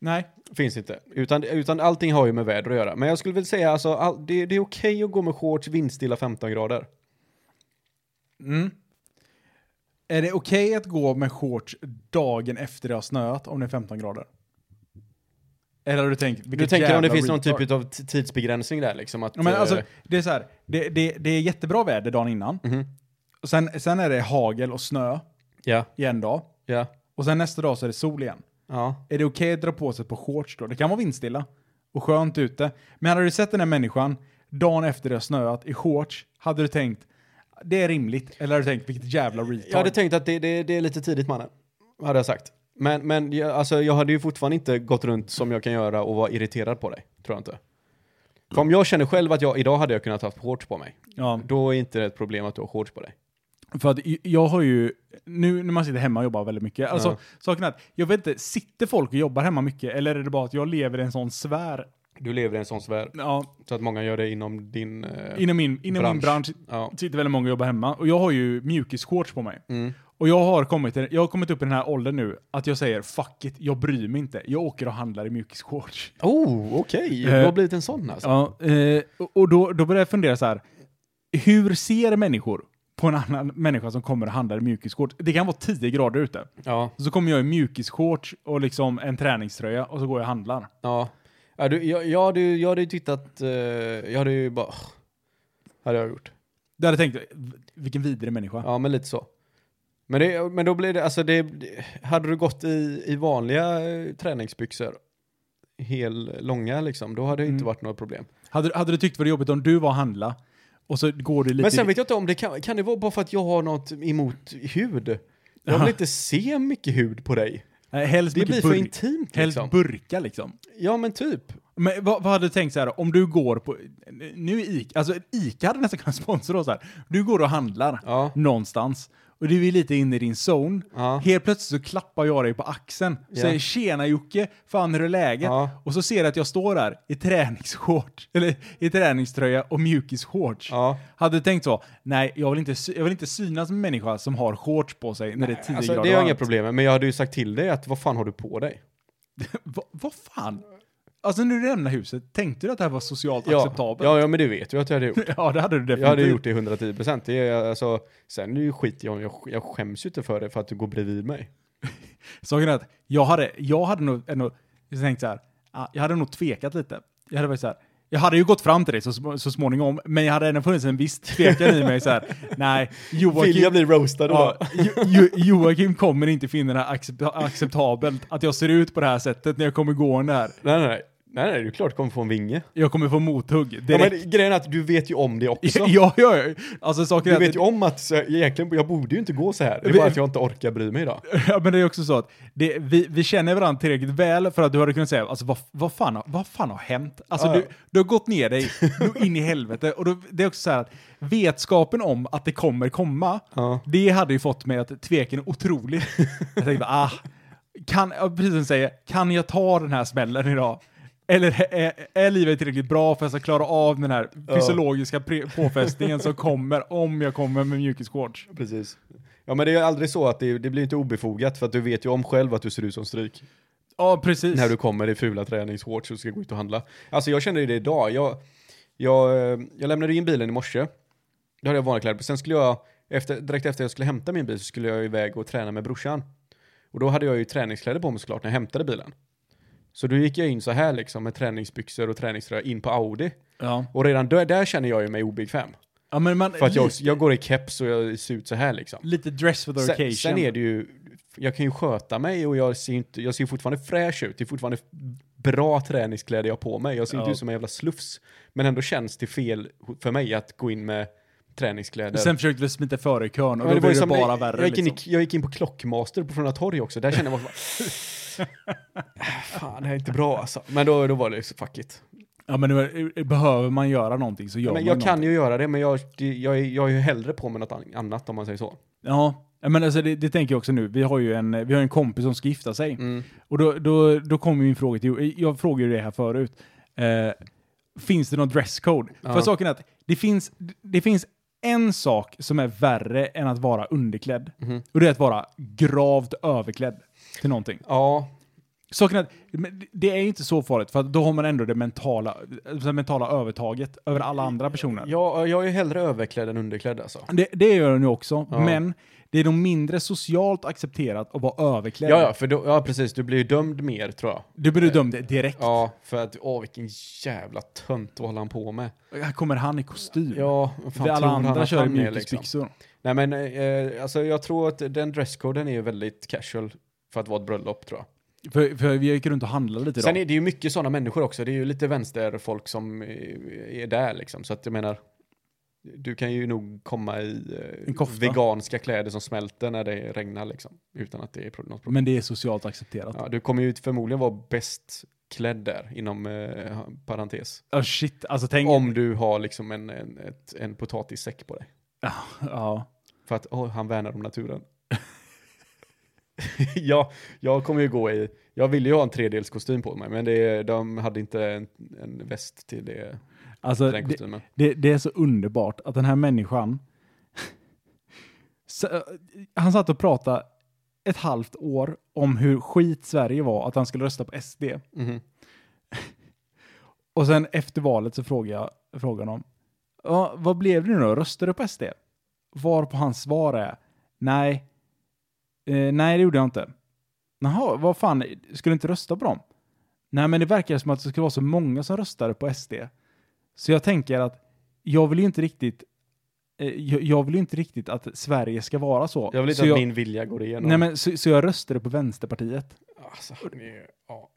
[SPEAKER 1] Nej.
[SPEAKER 2] Finns inte. Utan, utan allting har ju med väder att göra. Men jag skulle väl säga alltså, all, det, det är okej att gå med shorts vindstilla 15 grader.
[SPEAKER 1] Mm. Är det okej att gå med shorts dagen efter det har snöat om det är 15 grader? Eller har du tänkt?
[SPEAKER 2] Du
[SPEAKER 1] vilket
[SPEAKER 2] tänker om det
[SPEAKER 1] jävla
[SPEAKER 2] finns någon
[SPEAKER 1] retard.
[SPEAKER 2] typ av t- tidsbegränsning där liksom? Att,
[SPEAKER 1] Ja, men alltså,
[SPEAKER 2] eh,
[SPEAKER 1] det är så här, det, det, det är jättebra väder dagen innan.
[SPEAKER 2] mhm.
[SPEAKER 1] Och sen, sen är det hagel och snö
[SPEAKER 2] Ja,
[SPEAKER 1] i en dag.
[SPEAKER 2] ja,
[SPEAKER 1] Och sen nästa dag så är det sol igen.
[SPEAKER 2] ja.
[SPEAKER 1] Är det okej att dra på sig ett par shorts då? Det kan vara vindstilla och skönt ute. Men hade du sett den här människan dagen efter det har snöat i shorts, hade du tänkt det är rimligt? Eller hade du tänkt vilket jävla retard?
[SPEAKER 2] Jag hade tänkt att det, det, det är lite tidigt mannen, hade jag sagt. Men, men jag, alltså, jag hade ju fortfarande inte gått runt som jag kan göra och vara irriterad på dig, tror jag inte. För om jag känner själv att jag, idag hade jag kunnat haft shorts på mig,
[SPEAKER 1] ja.
[SPEAKER 2] då är inte det ett problem att du har shorts på dig.
[SPEAKER 1] För att j- jag har ju, nu när man sitter hemma och jobbar väldigt mycket, alltså
[SPEAKER 2] Ja.
[SPEAKER 1] saken är att jag vet inte, sitter folk och jobbar hemma mycket eller är det bara att jag lever i en sån sfär?
[SPEAKER 2] Du lever i en sån sfär,
[SPEAKER 1] Ja,
[SPEAKER 2] så att många gör det inom din... eh,
[SPEAKER 1] inom min, inom min bransch
[SPEAKER 2] Bransch. ja.
[SPEAKER 1] sitter väldigt många och jobbar hemma och jag har ju mjukisshorts på mig.
[SPEAKER 2] Mm.
[SPEAKER 1] Och jag har, kommit, till- jag har kommit upp i den här åldern nu att jag säger fuck it, jag bryr mig inte. Jag åker och handlar i mjukisshorts.
[SPEAKER 2] Oh, okej.
[SPEAKER 1] Eh.
[SPEAKER 2] Du har blivit en sån alltså.
[SPEAKER 1] Ja, eh, och- och då, då börjar jag fundera så här. Hur ser människor på en annan människa som kommer och handlar i mjukisshorts? Det kan vara 10 grader ute.
[SPEAKER 2] Ja.
[SPEAKER 1] Så kommer jag i mjukisshorts och liksom en träningströja och så går jag och handlar.
[SPEAKER 2] Ja. ja, du, jag, jag, hade, ju- jag hade ju tittat, eh, jag hade ju bara, "Åh." hade jag gjort.
[SPEAKER 1] Där hade jag tänkt, vilken vidrig människa.
[SPEAKER 2] Ja, men lite så. Men, det, men då blev det, alltså det, det- hade du gått i, i vanliga eh, träningsbyxor, hel långa liksom, då hade det inte
[SPEAKER 1] Mm.
[SPEAKER 2] varit några problem.
[SPEAKER 1] Hade, hade du tyckt det var jobbigt om du var och handla och så går du lite...
[SPEAKER 2] Men sen vet jag inte om det kan, kan det vara bara för att jag har något emot hud? Jag
[SPEAKER 1] Ja.
[SPEAKER 2] vill inte se mycket hud på dig.
[SPEAKER 1] Nej, helst
[SPEAKER 2] Det
[SPEAKER 1] mycket
[SPEAKER 2] blir för
[SPEAKER 1] burk-
[SPEAKER 2] intimt
[SPEAKER 1] Helst
[SPEAKER 2] liksom.
[SPEAKER 1] burka liksom.
[SPEAKER 2] Ja, men typ.
[SPEAKER 1] Men vad, vad hade du tänkt så här, om du går på, nu är Ica, alltså Ica hade nästan kunnat sponsra oss här. Du går och handlar
[SPEAKER 2] Ja.
[SPEAKER 1] någonstans och du är lite inne i din zone.
[SPEAKER 2] Ja.
[SPEAKER 1] Helt plötsligt så klappar jag dig på axeln och
[SPEAKER 2] Ja.
[SPEAKER 1] säger tjena Jocke, fan hur är läget?
[SPEAKER 2] Ja.
[SPEAKER 1] Och så ser jag att jag står där i träningsshorts, eller i träningströja och mjukisshorts.
[SPEAKER 2] Ja.
[SPEAKER 1] Hade du tänkt så, nej jag vill inte, sy- jag vill inte synas med en människa som har shorts på sig när det är 10
[SPEAKER 2] Alltså,
[SPEAKER 1] grader
[SPEAKER 2] det har jag inga
[SPEAKER 1] varmt.
[SPEAKER 2] problem med, men jag hade ju sagt till dig att vad fan har du på dig?
[SPEAKER 1] Va, vad fan? Alltså när du lämnade huset, tänkte du att det här var socialt
[SPEAKER 2] Ja,
[SPEAKER 1] acceptabelt?
[SPEAKER 2] ja, ja, men det vet jag att jag hade gjort.
[SPEAKER 1] Ja, det hade du definitivt.
[SPEAKER 2] Jag hade gjort det 110 procent. Alltså, sen är det ju skit jag, jag, jag skäms ju inte för det för att du går bredvid mig.
[SPEAKER 1] Saken är att jag hade, jag hade nog, ändå, jag tänkt så här, ah, jag hade nog tvekat lite. Jag hade varit så här, jag hade ju gått fram till dig så, sm- så småningom, men jag hade ändå funnits en viss tvekan i mig så här, nej,
[SPEAKER 2] Vill jag
[SPEAKER 1] Joakim,
[SPEAKER 2] bli roastad
[SPEAKER 1] ja,
[SPEAKER 2] då?
[SPEAKER 1] jo, jo, Joakim kommer inte finna det här accept, acceptabelt att jag ser ut på det här sättet när jag kommer gående här.
[SPEAKER 2] Nej, nej, nej. Nej, nej, du är klart du kommer få en vinge.
[SPEAKER 1] Jag kommer få mothugg
[SPEAKER 2] Ja,
[SPEAKER 1] direkt.
[SPEAKER 2] men grejen är att du vet ju om det också.
[SPEAKER 1] Ja, ja, ja. Alltså saken
[SPEAKER 2] Du
[SPEAKER 1] är att-
[SPEAKER 2] vet ju om att så, egentligen, jag borde ju inte gå så här. Det är bara att jag inte orkar bry mig idag.
[SPEAKER 1] Ja, men det är också så att det, vi, vi känner varandra tillräckligt väl för att du hade kunnat säga alltså, vad, vad, fan, har- vad fan har hänt? Alltså,
[SPEAKER 2] Ja, ja.
[SPEAKER 1] du, du har gått ner dig du, in i helvete. Och då, det är också så här att vetskapen om att det kommer komma,
[SPEAKER 2] Ja.
[SPEAKER 1] det hade ju fått mig att tveka otroligt. Jag tänkte bara, ah, kan, ja, precis som du säger, kan jag ta den här smällen idag? Eller är, är livet tillräckligt bra för att jag ska klara av den här fysiologiska pre- påfrestningen som kommer om jag kommer med mjukisshorts?
[SPEAKER 2] Precis. Ja, men det är aldrig så att det, det blir inte obefogat för att du vet ju om själv att du ser ut som stryk.
[SPEAKER 1] Ja, precis.
[SPEAKER 2] när du kommer i fula träningsshorts och ska gå ut och handla. Alltså jag känner ju det idag. Jag, jag, eh, jag lämnade in bilen i morse. Då hade jag vanliga kläder på. Sen skulle jag efter, direkt efter jag skulle hämta min bil så skulle jag iväg och träna med brorsan. Och då hade jag ju träningskläder på mig såklart när jag hämtade bilen. Så då gick jag in så här liksom med träningsbyxor och träningströja in på Audi.
[SPEAKER 1] Ja.
[SPEAKER 2] Och redan där, där känner jag ju mig obekväm.
[SPEAKER 1] ja men man,
[SPEAKER 2] För att jag,
[SPEAKER 1] lite,
[SPEAKER 2] jag går i keps och jag ser ut så här liksom.
[SPEAKER 1] lite dress for the
[SPEAKER 2] Sen,
[SPEAKER 1] occasion.
[SPEAKER 2] sen är det ju, jag kan ju sköta mig och jag ser, inte, jag ser fortfarande fräsch ut. Det är fortfarande bra träningskläder jag har på mig. Jag ser inte
[SPEAKER 1] Ja.
[SPEAKER 2] ut som en jävla slufs. Men ändå känns det fel för mig att gå in med träningskläder.
[SPEAKER 1] Sen försökte vi smita före i kön och
[SPEAKER 2] Ja,
[SPEAKER 1] då blev
[SPEAKER 2] ju
[SPEAKER 1] det
[SPEAKER 2] som-
[SPEAKER 1] bara
[SPEAKER 2] jag,
[SPEAKER 1] värre.
[SPEAKER 2] Jag gick, in,
[SPEAKER 1] liksom.
[SPEAKER 2] i- jag gick in på Klockmaster på Frölunda Torg också. Där kände jag bara... Fan, det här är inte bra alltså. Men då, då var det ju så fuck it.
[SPEAKER 1] Ja men nu, eh, behöver man göra någonting så gör
[SPEAKER 2] men
[SPEAKER 1] man
[SPEAKER 2] jag kan
[SPEAKER 1] någonting.
[SPEAKER 2] ju göra det, men jag, det- jag, är- jag är ju hellre på med något an- annat om man säger så.
[SPEAKER 1] Ja. Ja, men alltså det, det tänker jag också nu. Vi har ju en, vi har en kompis som ska gifta sig.
[SPEAKER 2] Mm.
[SPEAKER 1] Och då, då, då kommer min fråga till, jag frågade ju det här förut. Eh, finns det någon dresscode? För saken är att det finns, det finns en sak som är värre än att vara underklädd.
[SPEAKER 2] Mm-hmm.
[SPEAKER 1] Och det är att vara gravt överklädd till någonting.
[SPEAKER 2] Ja,
[SPEAKER 1] Saken är att men det- det är ju inte så farligt, för att då har man ändå det mentala, det mentala övertaget över alla andra personer.
[SPEAKER 2] jag, jag är ju hellre överklädd än underklädd alltså.
[SPEAKER 1] Det, det gör den ju också,
[SPEAKER 2] Ja.
[SPEAKER 1] men det är nog mindre socialt accepterat att vara överklädd.
[SPEAKER 2] Ja, ja, för då, ja, precis. Du blir ju dömd mer tror jag.
[SPEAKER 1] Du blir dömd direkt.
[SPEAKER 2] Ja, för att åh vilken jävla tönt vad håller han på med?
[SPEAKER 1] Här kommer han i kostym.
[SPEAKER 2] Ja, vad fan
[SPEAKER 1] det alla
[SPEAKER 2] tror han
[SPEAKER 1] andra
[SPEAKER 2] att
[SPEAKER 1] kör i
[SPEAKER 2] han är, liksom?
[SPEAKER 1] mjukisbyxor.
[SPEAKER 2] Nej men, eh, alltså jag tror att den dresscoden är ju väldigt casual för att vara ett bröllop tror jag.
[SPEAKER 1] För, för vi gick runt och handlade lite
[SPEAKER 2] Sen
[SPEAKER 1] idag.
[SPEAKER 2] är det ju mycket sådana människor också. Det är ju lite vänsterfolk som eh, är där liksom. Så att jag menar, du kan ju nog komma i eh,
[SPEAKER 1] En kofta.
[SPEAKER 2] veganska kläder som smälter när det regnar liksom. Utan att det är pro- något problem.
[SPEAKER 1] Men det är socialt accepterat.
[SPEAKER 2] Ja, du kommer ju förmodligen vara bäst klädd där inom eh, parentes.
[SPEAKER 1] Oh shit, alltså tänk...
[SPEAKER 2] Om du har liksom en, en, ett, en potatissäck på dig.
[SPEAKER 1] Ja.
[SPEAKER 2] För att åh, han värnar om naturen. jag, jag kommer ju gå i, jag ville ju ha en tredelskostym på mig, men det, de hade inte en, en väst till det,
[SPEAKER 1] Alltså,
[SPEAKER 2] till den
[SPEAKER 1] det,
[SPEAKER 2] kostymen.
[SPEAKER 1] det, det är så underbart att den här människan... Så, eh, han satt och pratade ett halvt år om hur skit Sverige var att han skulle rösta på SD.
[SPEAKER 2] Mhm.
[SPEAKER 1] Och sen efter valet så frågade jag frågan om ja, vad blev det nu då? Röstade du på SD? Var på hans svar är nej, eh, nej det gjorde jag inte. Jaha, vad fan, skulle du inte rösta på dem? Nej, men det verkar som att det skulle vara så många som röstade på SD. Så jag tänker att jag vill ju inte riktigt eh, jag, jag vill ju inte riktigt att Sverige ska vara så.
[SPEAKER 2] Jag vill inte
[SPEAKER 1] så
[SPEAKER 2] att
[SPEAKER 1] jag,
[SPEAKER 2] min vilja går igenom.
[SPEAKER 1] Nej, men så, så jag röstade på Vänsterpartiet.
[SPEAKER 2] Alltså, han är, ja.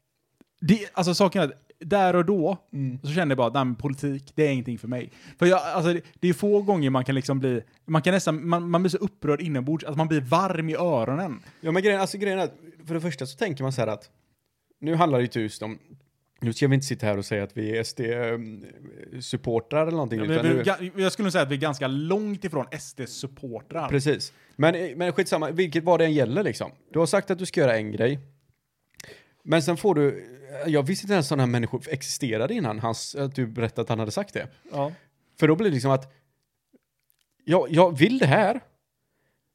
[SPEAKER 1] Det, alltså saken är att där och då
[SPEAKER 2] Mm.
[SPEAKER 1] så kände jag bara att nej, men politik, det är ingenting för mig. För jag, alltså, det, det är få gånger man kan liksom bli, man kan nästan, man, man blir så upprörd inombords att man blir varm i öronen.
[SPEAKER 2] ja, men grejen, alltså, grejen är att för det första så tänker man så här att nu handlar det ju just om nu ska vi inte sitta här och säga att vi är SD-supportrar eller någonting.
[SPEAKER 1] Men,
[SPEAKER 2] utan nu-
[SPEAKER 1] vi- ga- jag skulle nog säga att vi är ganska långt ifrån SD-supportrar.
[SPEAKER 2] Precis. Men, men skitsamma, vilket vad det än gäller liksom. Du har sagt att du ska göra en grej. Men sen får du, jag visste inte ens sådana här människor existerade innan hans, att du berättade att han hade sagt det.
[SPEAKER 1] Ja.
[SPEAKER 2] För då blir det liksom att, ja, jag vill det här,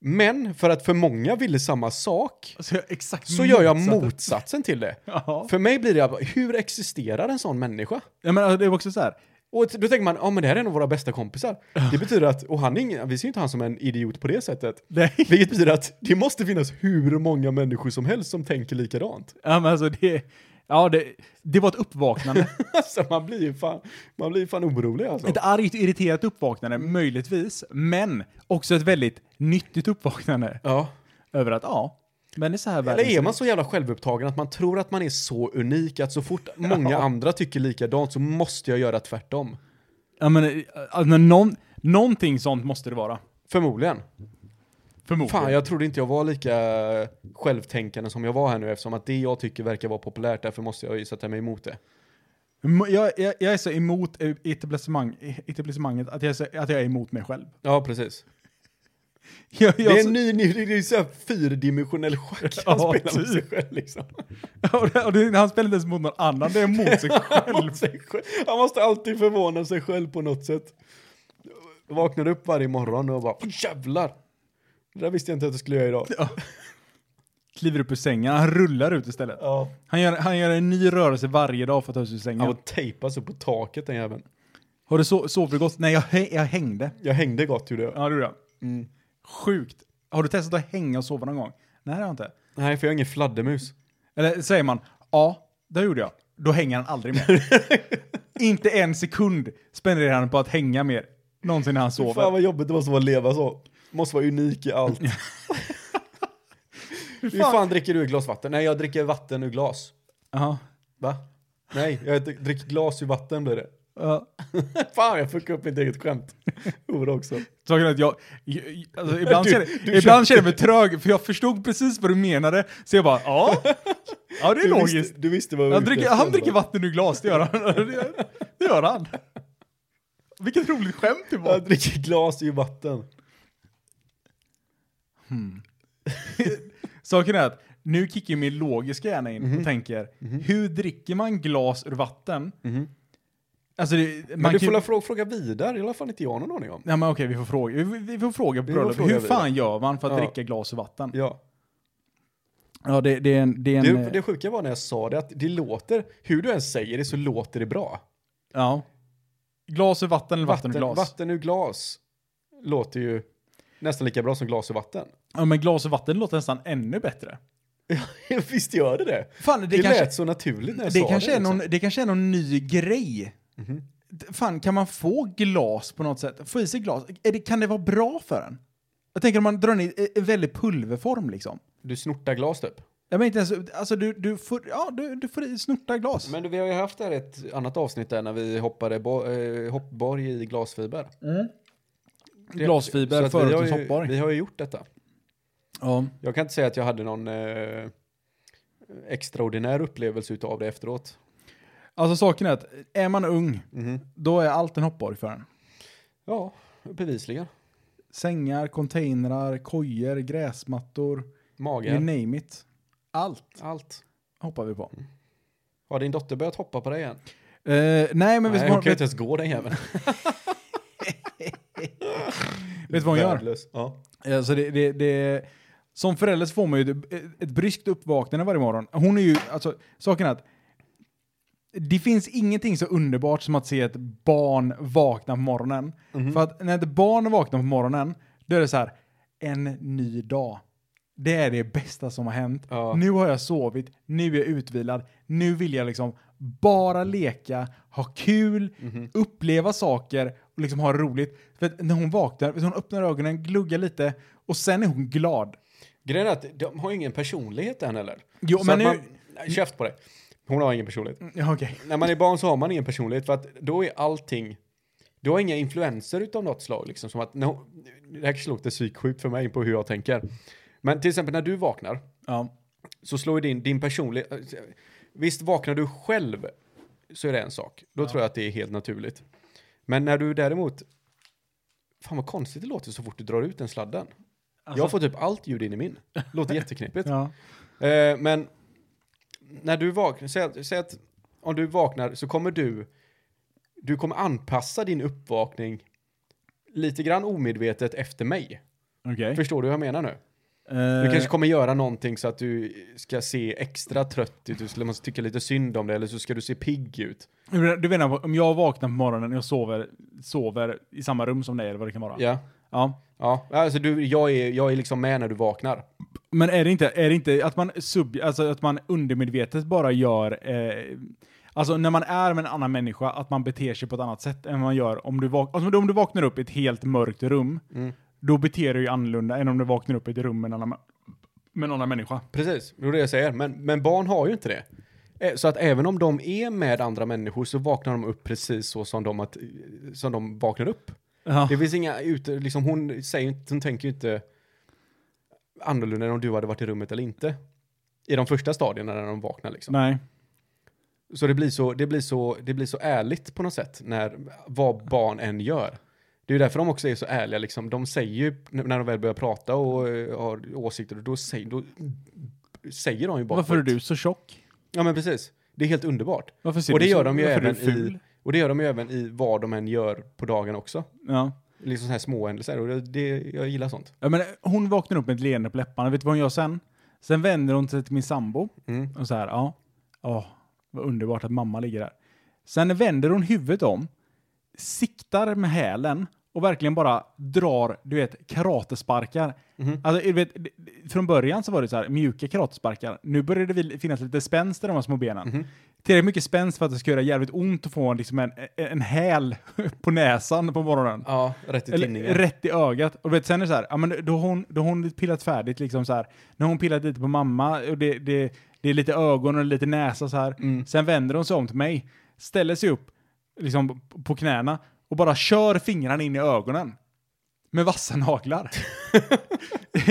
[SPEAKER 2] men för att för många ville samma sak,
[SPEAKER 1] Så, Alltså, jag- exakt
[SPEAKER 2] så gör jag
[SPEAKER 1] motsatsen.
[SPEAKER 2] motsatsen till det.
[SPEAKER 1] Ja.
[SPEAKER 2] För mig blir det, bara, hur existerar en sån människa?
[SPEAKER 1] Ja, men, alltså, det var också så här,
[SPEAKER 2] Och då tänker man, ja men det här är en av våra bästa kompisar. Det betyder att, och han är ingen, vi ser ju inte han som en idiot på det sättet.
[SPEAKER 1] nej.
[SPEAKER 2] Vilket betyder att det måste finnas hur många människor som helst som tänker likadant.
[SPEAKER 1] Ja, men alltså, det, ja, det, det var ett uppvaknande.
[SPEAKER 2] Alltså man blir ju fan, man blir fan orolig alltså.
[SPEAKER 1] Ett argt, irriterat uppvaknande, möjligtvis, men också ett väldigt nyttigt uppvaknande.
[SPEAKER 2] Ja.
[SPEAKER 1] Över att, ja, men det är så här
[SPEAKER 2] Eller
[SPEAKER 1] världen
[SPEAKER 2] är
[SPEAKER 1] ser
[SPEAKER 2] man
[SPEAKER 1] ut.
[SPEAKER 2] så jävla självupptagen att man tror att man är så unik att så fort många andra tycker likadant så måste jag göra tvärtom?
[SPEAKER 1] Ja, men, eh, alltså, men någon, någonting sånt måste det vara.
[SPEAKER 2] Förmodligen.
[SPEAKER 1] Förmodligen.
[SPEAKER 2] Fan, jag trodde inte jag var lika självtänkande som jag var här nu eftersom att det jag tycker verkar vara populärt därför måste jag ju sätta mig emot det.
[SPEAKER 1] M- Mm, jag, jag, jag är så emot eh, etablissemang, etablissemanget att jag, är så, att jag är emot mig själv.
[SPEAKER 2] Ja, precis.
[SPEAKER 1] Jag,
[SPEAKER 2] Det
[SPEAKER 1] jag,
[SPEAKER 2] är en ny, ny det är så här fyrdimensionell schack han
[SPEAKER 1] Ja,
[SPEAKER 2] spelar med sig
[SPEAKER 1] typ.
[SPEAKER 2] själv liksom.
[SPEAKER 1] och det, och det, han spelar inte ens mot någon annan, det är mot sig själv.
[SPEAKER 2] mot sig själv. Han måste alltid förvåna sig själv på något sätt. Vaknar upp varje morgon och bara "Åh, jävlar. Det där visste jag inte att jag skulle göra idag.
[SPEAKER 1] Kliver upp ur sängen, han rullar ut istället.
[SPEAKER 2] Ja.
[SPEAKER 1] Han gör, han gör en ny rörelse varje dag för att ta sig ur sängen.
[SPEAKER 2] Han var tejpad så på taket den jäveln.
[SPEAKER 1] Har du so, sovit gott? Nej, jag, hä- jag hängde.
[SPEAKER 2] Jag hängde gott gjorde jag.
[SPEAKER 1] Ja, du då? Sjukt. Har du testat att hänga och sova någon gång? Nej, det har jag inte.
[SPEAKER 2] Nej, för jag är ingen fladdermus.
[SPEAKER 1] Eller säger man, ja, det gjorde jag. Då hänger han aldrig mer. inte en sekund spenderar han på att hänga mer. Någonsin när han
[SPEAKER 2] Fan
[SPEAKER 1] sover.
[SPEAKER 2] vad jobbigt det måste vara att leva så. Måste vara unik i allt. Hur fan dricker du ett glas vatten? Nej, jag dricker vatten ur glas.
[SPEAKER 1] Ja.
[SPEAKER 2] Va? Nej, jag dr- dricker glas ur vatten blir det.
[SPEAKER 1] Ja.
[SPEAKER 2] Fan, jag fuckade upp mitt eget skämt. Ord också.
[SPEAKER 1] Saken är att jag, jag, alltså, ibland,
[SPEAKER 2] Du-
[SPEAKER 1] känner,
[SPEAKER 2] du
[SPEAKER 1] ibland känner jag mig trög, för jag förstod precis vad du menade. Så jag bara, ja, ja det är
[SPEAKER 2] Du
[SPEAKER 1] logiskt.
[SPEAKER 2] visste, du visste vad jag var
[SPEAKER 1] Han
[SPEAKER 2] ute
[SPEAKER 1] dricker,
[SPEAKER 2] efter,
[SPEAKER 1] han
[SPEAKER 2] va?
[SPEAKER 1] dricker vatten ur glas, det gör han. Det gör, det gör han. Vilket roligt skämt det var.
[SPEAKER 2] Jag dricker glas ur vatten.
[SPEAKER 1] Saken är att nu kickar ju min logiska hjärna in
[SPEAKER 2] Mhm.
[SPEAKER 1] och tänker, hur dricker man glas ur vatten? Alltså, det, man
[SPEAKER 2] Mhm. Men
[SPEAKER 1] kan
[SPEAKER 2] du
[SPEAKER 1] ju-
[SPEAKER 2] får väl fråga, fråga vidare, i alla fall inte jag har någon aning om.
[SPEAKER 1] Ja men okej, vi får fråga, vi, vi får fråga på
[SPEAKER 2] får
[SPEAKER 1] bröllop.
[SPEAKER 2] fråga
[SPEAKER 1] Hur fan gör man för att
[SPEAKER 2] Ja.
[SPEAKER 1] dricka glas ur vatten? Ja,
[SPEAKER 2] Ja.
[SPEAKER 1] det, det är en... Det är en eh,
[SPEAKER 2] Det,
[SPEAKER 1] det,
[SPEAKER 2] det sjuka var när jag sa det, att det låter, hur du än säger det så låter det bra.
[SPEAKER 1] Ja. Glas ur vatten eller vatten,
[SPEAKER 2] Vatten,
[SPEAKER 1] ur glas?
[SPEAKER 2] vatten ur glas låter ju nästan lika bra som glas ur vatten.
[SPEAKER 1] Ja men glas ur vatten låter nästan ännu bättre.
[SPEAKER 2] Visst gör det det?
[SPEAKER 1] Fan, det,
[SPEAKER 2] Det,
[SPEAKER 1] kanske...
[SPEAKER 2] lät så Mhm. naturligt när jag
[SPEAKER 1] Det
[SPEAKER 2] sa
[SPEAKER 1] kanske,
[SPEAKER 2] det. liksom.
[SPEAKER 1] är någon, det kanske är någon ny grej. D- Fan, kan man få glas på något sätt? Få i sig glas? Är det, kan det vara bra för en? Jag tänker om man drar ner i- i väldigt pulverform liksom.
[SPEAKER 2] Du snortar glas typ.
[SPEAKER 1] Jag menar inte ens, alltså du, du får, ja du, du får i snorta glas.
[SPEAKER 2] Men du, vi har ju haft där ett annat avsnitt där när vi hoppade bo, eh, hoppborg i glasfiber. Det- så
[SPEAKER 1] Glasfiber,
[SPEAKER 2] att vi har
[SPEAKER 1] förortens
[SPEAKER 2] ju-
[SPEAKER 1] hoppborg.
[SPEAKER 2] Vi har ju gjort detta.
[SPEAKER 1] Ja.
[SPEAKER 2] Jag kan inte säga att jag hade någon eh, extraordinär upplevelse utav det efteråt.
[SPEAKER 1] Alltså saken är att är man ung,
[SPEAKER 2] Mhm.
[SPEAKER 1] då är allt en hoppborg för en.
[SPEAKER 2] Ja, bevisligen.
[SPEAKER 1] Sängar, containrar, kojor, gräsmattor, you
[SPEAKER 2] Magen,
[SPEAKER 1] name it. Allt
[SPEAKER 2] allt.
[SPEAKER 1] hoppar vi på.
[SPEAKER 2] Mm. Har din dotter börjat hoppa på dig igen?
[SPEAKER 1] Eh, nej, men
[SPEAKER 2] Nej,
[SPEAKER 1] vet
[SPEAKER 2] typ hon
[SPEAKER 1] du
[SPEAKER 2] kan
[SPEAKER 1] vad-
[SPEAKER 2] ju inte
[SPEAKER 1] vet
[SPEAKER 2] ens gå den jäveln.
[SPEAKER 1] vet du vad hon gör?
[SPEAKER 2] Värdelös. Ja.
[SPEAKER 1] Alltså det, det, det, som förälder så får man ju ett, ett bryskt uppvaknande varje morgon. Hon är ju, alltså, saken är att det finns ingenting så underbart som att se ett barn vakna på morgonen.
[SPEAKER 2] Mhm.
[SPEAKER 1] För att när ett barn vaknar på morgonen, då är det så här, en ny dag. Det är det bästa som har hänt.
[SPEAKER 2] Ja.
[SPEAKER 1] Nu har jag sovit, nu är jag utvilad, nu vill jag liksom bara leka, ha kul,
[SPEAKER 2] Mhm.
[SPEAKER 1] uppleva saker och liksom ha roligt. För att när hon vaknar, vet du, hon öppnar ögonen, gluggar lite och sen är hon glad.
[SPEAKER 2] Grejen är att de har ju ingen personlighet än heller.
[SPEAKER 1] Jo,
[SPEAKER 2] Så
[SPEAKER 1] men
[SPEAKER 2] att
[SPEAKER 1] nu-
[SPEAKER 2] Man, Nej, käft på dig. Hon har ingen personlighet.
[SPEAKER 1] Ja, okej.
[SPEAKER 2] När man är barn så har man ingen personlighet för att då är allting... Du har inga influenser utav något slag liksom som att... när hon- det här kanske låter psyksjukt för mig på hur jag tänker. Men till exempel när du vaknar
[SPEAKER 1] Ja.
[SPEAKER 2] så slår ju din, din personlighet... Visst vaknar du själv så är det en sak. Då tror jag att det är helt naturligt. Men när du däremot... Fan vad konstigt det låter så fort du drar ut den sladden.
[SPEAKER 1] Alltså-
[SPEAKER 2] Jag får typ allt ljud in i min. Låter jätteknepigt.
[SPEAKER 1] Ja.
[SPEAKER 2] Eh, men när du vaknar, säg, att- säg att om du vaknar så kommer du, du kommer anpassa din uppvakning lite grann omedvetet efter mig.
[SPEAKER 1] Okej.
[SPEAKER 2] Förstår du vad jag menar nu? Du
[SPEAKER 1] Eh,
[SPEAKER 2] kanske kommer göra någonting så att du ska se extra trött ut, du skulle- måste tycka lite synd om det eller så ska du se pigg ut.
[SPEAKER 1] Du menar om jag vaknar på morgonen och jag sover, sover i samma rum som dig eller vad det kan vara?
[SPEAKER 2] Ja,
[SPEAKER 1] ja.
[SPEAKER 2] ja. Alltså du, jag, är, jag är liksom med när du vaknar.
[SPEAKER 1] Men är det inte, är det inte att, man sub, alltså att man undermedvetet bara gör... Eh, alltså när man är med en annan människa, att man beter sig på ett annat sätt än man gör om du, vak, alltså om du vaknar upp i ett helt mörkt rum.
[SPEAKER 2] Mm.
[SPEAKER 1] Då beter du ju annorlunda än om du vaknar upp i ett rum med en annan, med en annan människa.
[SPEAKER 2] Precis, det är det jag säger. Men, men barn har ju inte det. Eh, Så att även om de är med andra människor så vaknar de upp precis så som de, att, som de vaknar upp.
[SPEAKER 1] Ja.
[SPEAKER 2] Det finns inga ute, liksom hon säger inte, hon tänker ju inte annorlunda än om du hade varit i rummet eller inte. I de första stadierna när de vaknar liksom.
[SPEAKER 1] Nej.
[SPEAKER 2] Så det blir så, det blir så, det blir så ärligt på något sätt när vad barn än gör. Det är ju därför de också är så ärliga liksom. De säger ju n- när de väl börjar prata och eh, har åsikter, då säger, då säger de ju bara
[SPEAKER 1] Varför är
[SPEAKER 2] skit.
[SPEAKER 1] du så tjock?
[SPEAKER 2] Ja men precis. Det är helt underbart.
[SPEAKER 1] Varför ser
[SPEAKER 2] Och det
[SPEAKER 1] du så,
[SPEAKER 2] gör de ju
[SPEAKER 1] varför är
[SPEAKER 2] även
[SPEAKER 1] du ful?
[SPEAKER 2] i, och det gör de ju även i vad de än gör på dagen också.
[SPEAKER 1] Ja.
[SPEAKER 2] Liksom så här små händelser och det, det, jag gillar sånt.
[SPEAKER 1] Ja, men hon vaknar upp med ett leende på läpparna. Vet du vad hon gör sen? Sen vänder hon sig till min sambo
[SPEAKER 2] Mm.
[SPEAKER 1] och så här, ja, åh, vad underbart att mamma ligger där. Sen vänder hon huvudet om, siktar med hälen och verkligen bara drar, du vet, karatesparkar. Alltså, du vet, d- d- från början så var det så här, mjuka karatesparkar. Nu börjar det vil- finnas lite spänst i de här små benen. Tillräckligt mycket spänst för att det ska göra jävligt ont att få en, liksom en, en häl på näsan på morgonen.
[SPEAKER 2] Ja, rätt i
[SPEAKER 1] Eller,
[SPEAKER 2] tinningen.
[SPEAKER 1] rätt i ögat. Och du vet, sen är det så här, ja, men då har hon, då har hon pillat färdigt liksom så här. Nu har hon pillat lite på mamma och det, det, det är lite ögon och lite näsa så här.
[SPEAKER 2] Mm.
[SPEAKER 1] Sen vänder hon sig om till mig, ställer sig upp liksom på knäna och bara kör fingrarna in i ögonen. Med vassa naglar.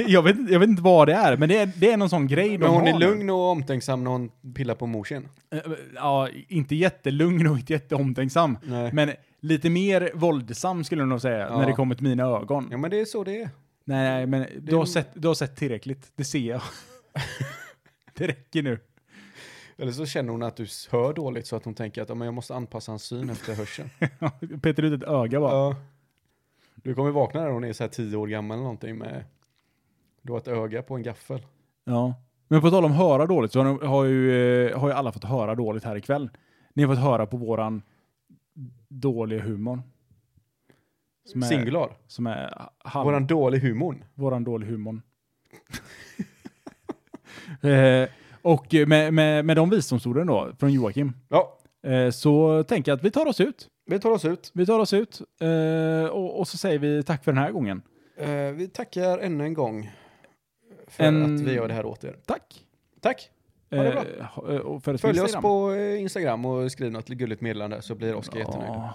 [SPEAKER 1] jag, vet, inte- jag vet inte vad det är, men det är, det är någon sån grej de
[SPEAKER 2] Men hon
[SPEAKER 1] har
[SPEAKER 2] är
[SPEAKER 1] nu.
[SPEAKER 2] lugn och omtänksam när hon pillar på morsen.
[SPEAKER 1] Eh, Ja, inte jättelugn och inte jätteomtänksam.
[SPEAKER 2] Nej.
[SPEAKER 1] Men lite mer våldsam skulle jag nog säga
[SPEAKER 2] Ja.
[SPEAKER 1] när det kommer till mina ögon.
[SPEAKER 2] Ja, men det är så det är.
[SPEAKER 1] Nej, nej, men du har, sett, du har sett tillräckligt. Det ser jag. det räcker nu.
[SPEAKER 2] Eller så känner hon att du hör dåligt så att hon tänker att "Ja, men jag måste anpassa hans syn efter hörseln.
[SPEAKER 1] Peter ut ett öga bara.
[SPEAKER 2] Ja. Du kommer vakna när hon är så här tio år gammal eller någonting med du har ett öga på en gaffel.
[SPEAKER 1] Ja. Men på tal om höra dåligt så har, har, ju, eh, har ju alla fått höra dåligt här ikväll. Ni har fått höra på våran dåliga humor. Som är,
[SPEAKER 2] Singular.
[SPEAKER 1] Som är halv,
[SPEAKER 2] Våran
[SPEAKER 1] våran...
[SPEAKER 2] dålig humor.
[SPEAKER 1] dåliga humor. eh, och med, med, med de visdomsorden då, från Joakim,
[SPEAKER 2] Ja,
[SPEAKER 1] eh, så tänker jag att vi tar oss ut.
[SPEAKER 2] vi tar oss ut.
[SPEAKER 1] Vi tar oss ut eh, och, och så säger vi tack för den här gången.
[SPEAKER 2] Eh, vi tackar ännu en gång för
[SPEAKER 1] En-
[SPEAKER 2] att vi gör det här åt er.
[SPEAKER 1] Tack!
[SPEAKER 2] Tack! Ha det bra.
[SPEAKER 1] Eh, ha- eh, och för att
[SPEAKER 2] Följ oss
[SPEAKER 1] Instagram.
[SPEAKER 2] på eh, Instagram och skriv något gulligt meddelande så blir Oskar jättenöjd.
[SPEAKER 1] Ja.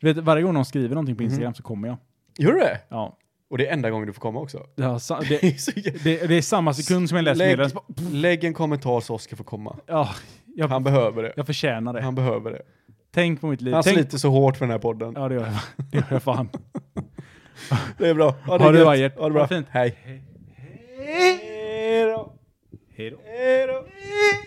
[SPEAKER 1] Du vet, varje gång någon skriver någonting på
[SPEAKER 2] Mhm.
[SPEAKER 1] Instagram så kommer jag.
[SPEAKER 2] Gör du det?
[SPEAKER 1] Ja.
[SPEAKER 2] Och det är enda gången du får komma också.
[SPEAKER 1] Det, har sa-
[SPEAKER 2] Det
[SPEAKER 1] det,
[SPEAKER 2] är så jä-
[SPEAKER 1] det, det är samma sekund som jag läser
[SPEAKER 2] Lägg,
[SPEAKER 1] meddelandet.
[SPEAKER 2] lägg en kommentar så Oskar får komma.
[SPEAKER 1] Ja, jag,
[SPEAKER 2] Han behöver det.
[SPEAKER 1] jag förtjänar det.
[SPEAKER 2] Han behöver det.
[SPEAKER 1] Tänk på mitt liv.
[SPEAKER 2] Han
[SPEAKER 1] Tänk,
[SPEAKER 2] sliter så hårt för den här podden.
[SPEAKER 1] ja, det gör jag. Det gör jag fan.
[SPEAKER 2] Det är bra.
[SPEAKER 1] Ha
[SPEAKER 2] Ha
[SPEAKER 1] det
[SPEAKER 2] gött.
[SPEAKER 1] bra, Gert.
[SPEAKER 2] Ha det bra.
[SPEAKER 1] Ha det fint.
[SPEAKER 2] Hej. Hej då.
[SPEAKER 1] Hej då.
[SPEAKER 2] Hej då.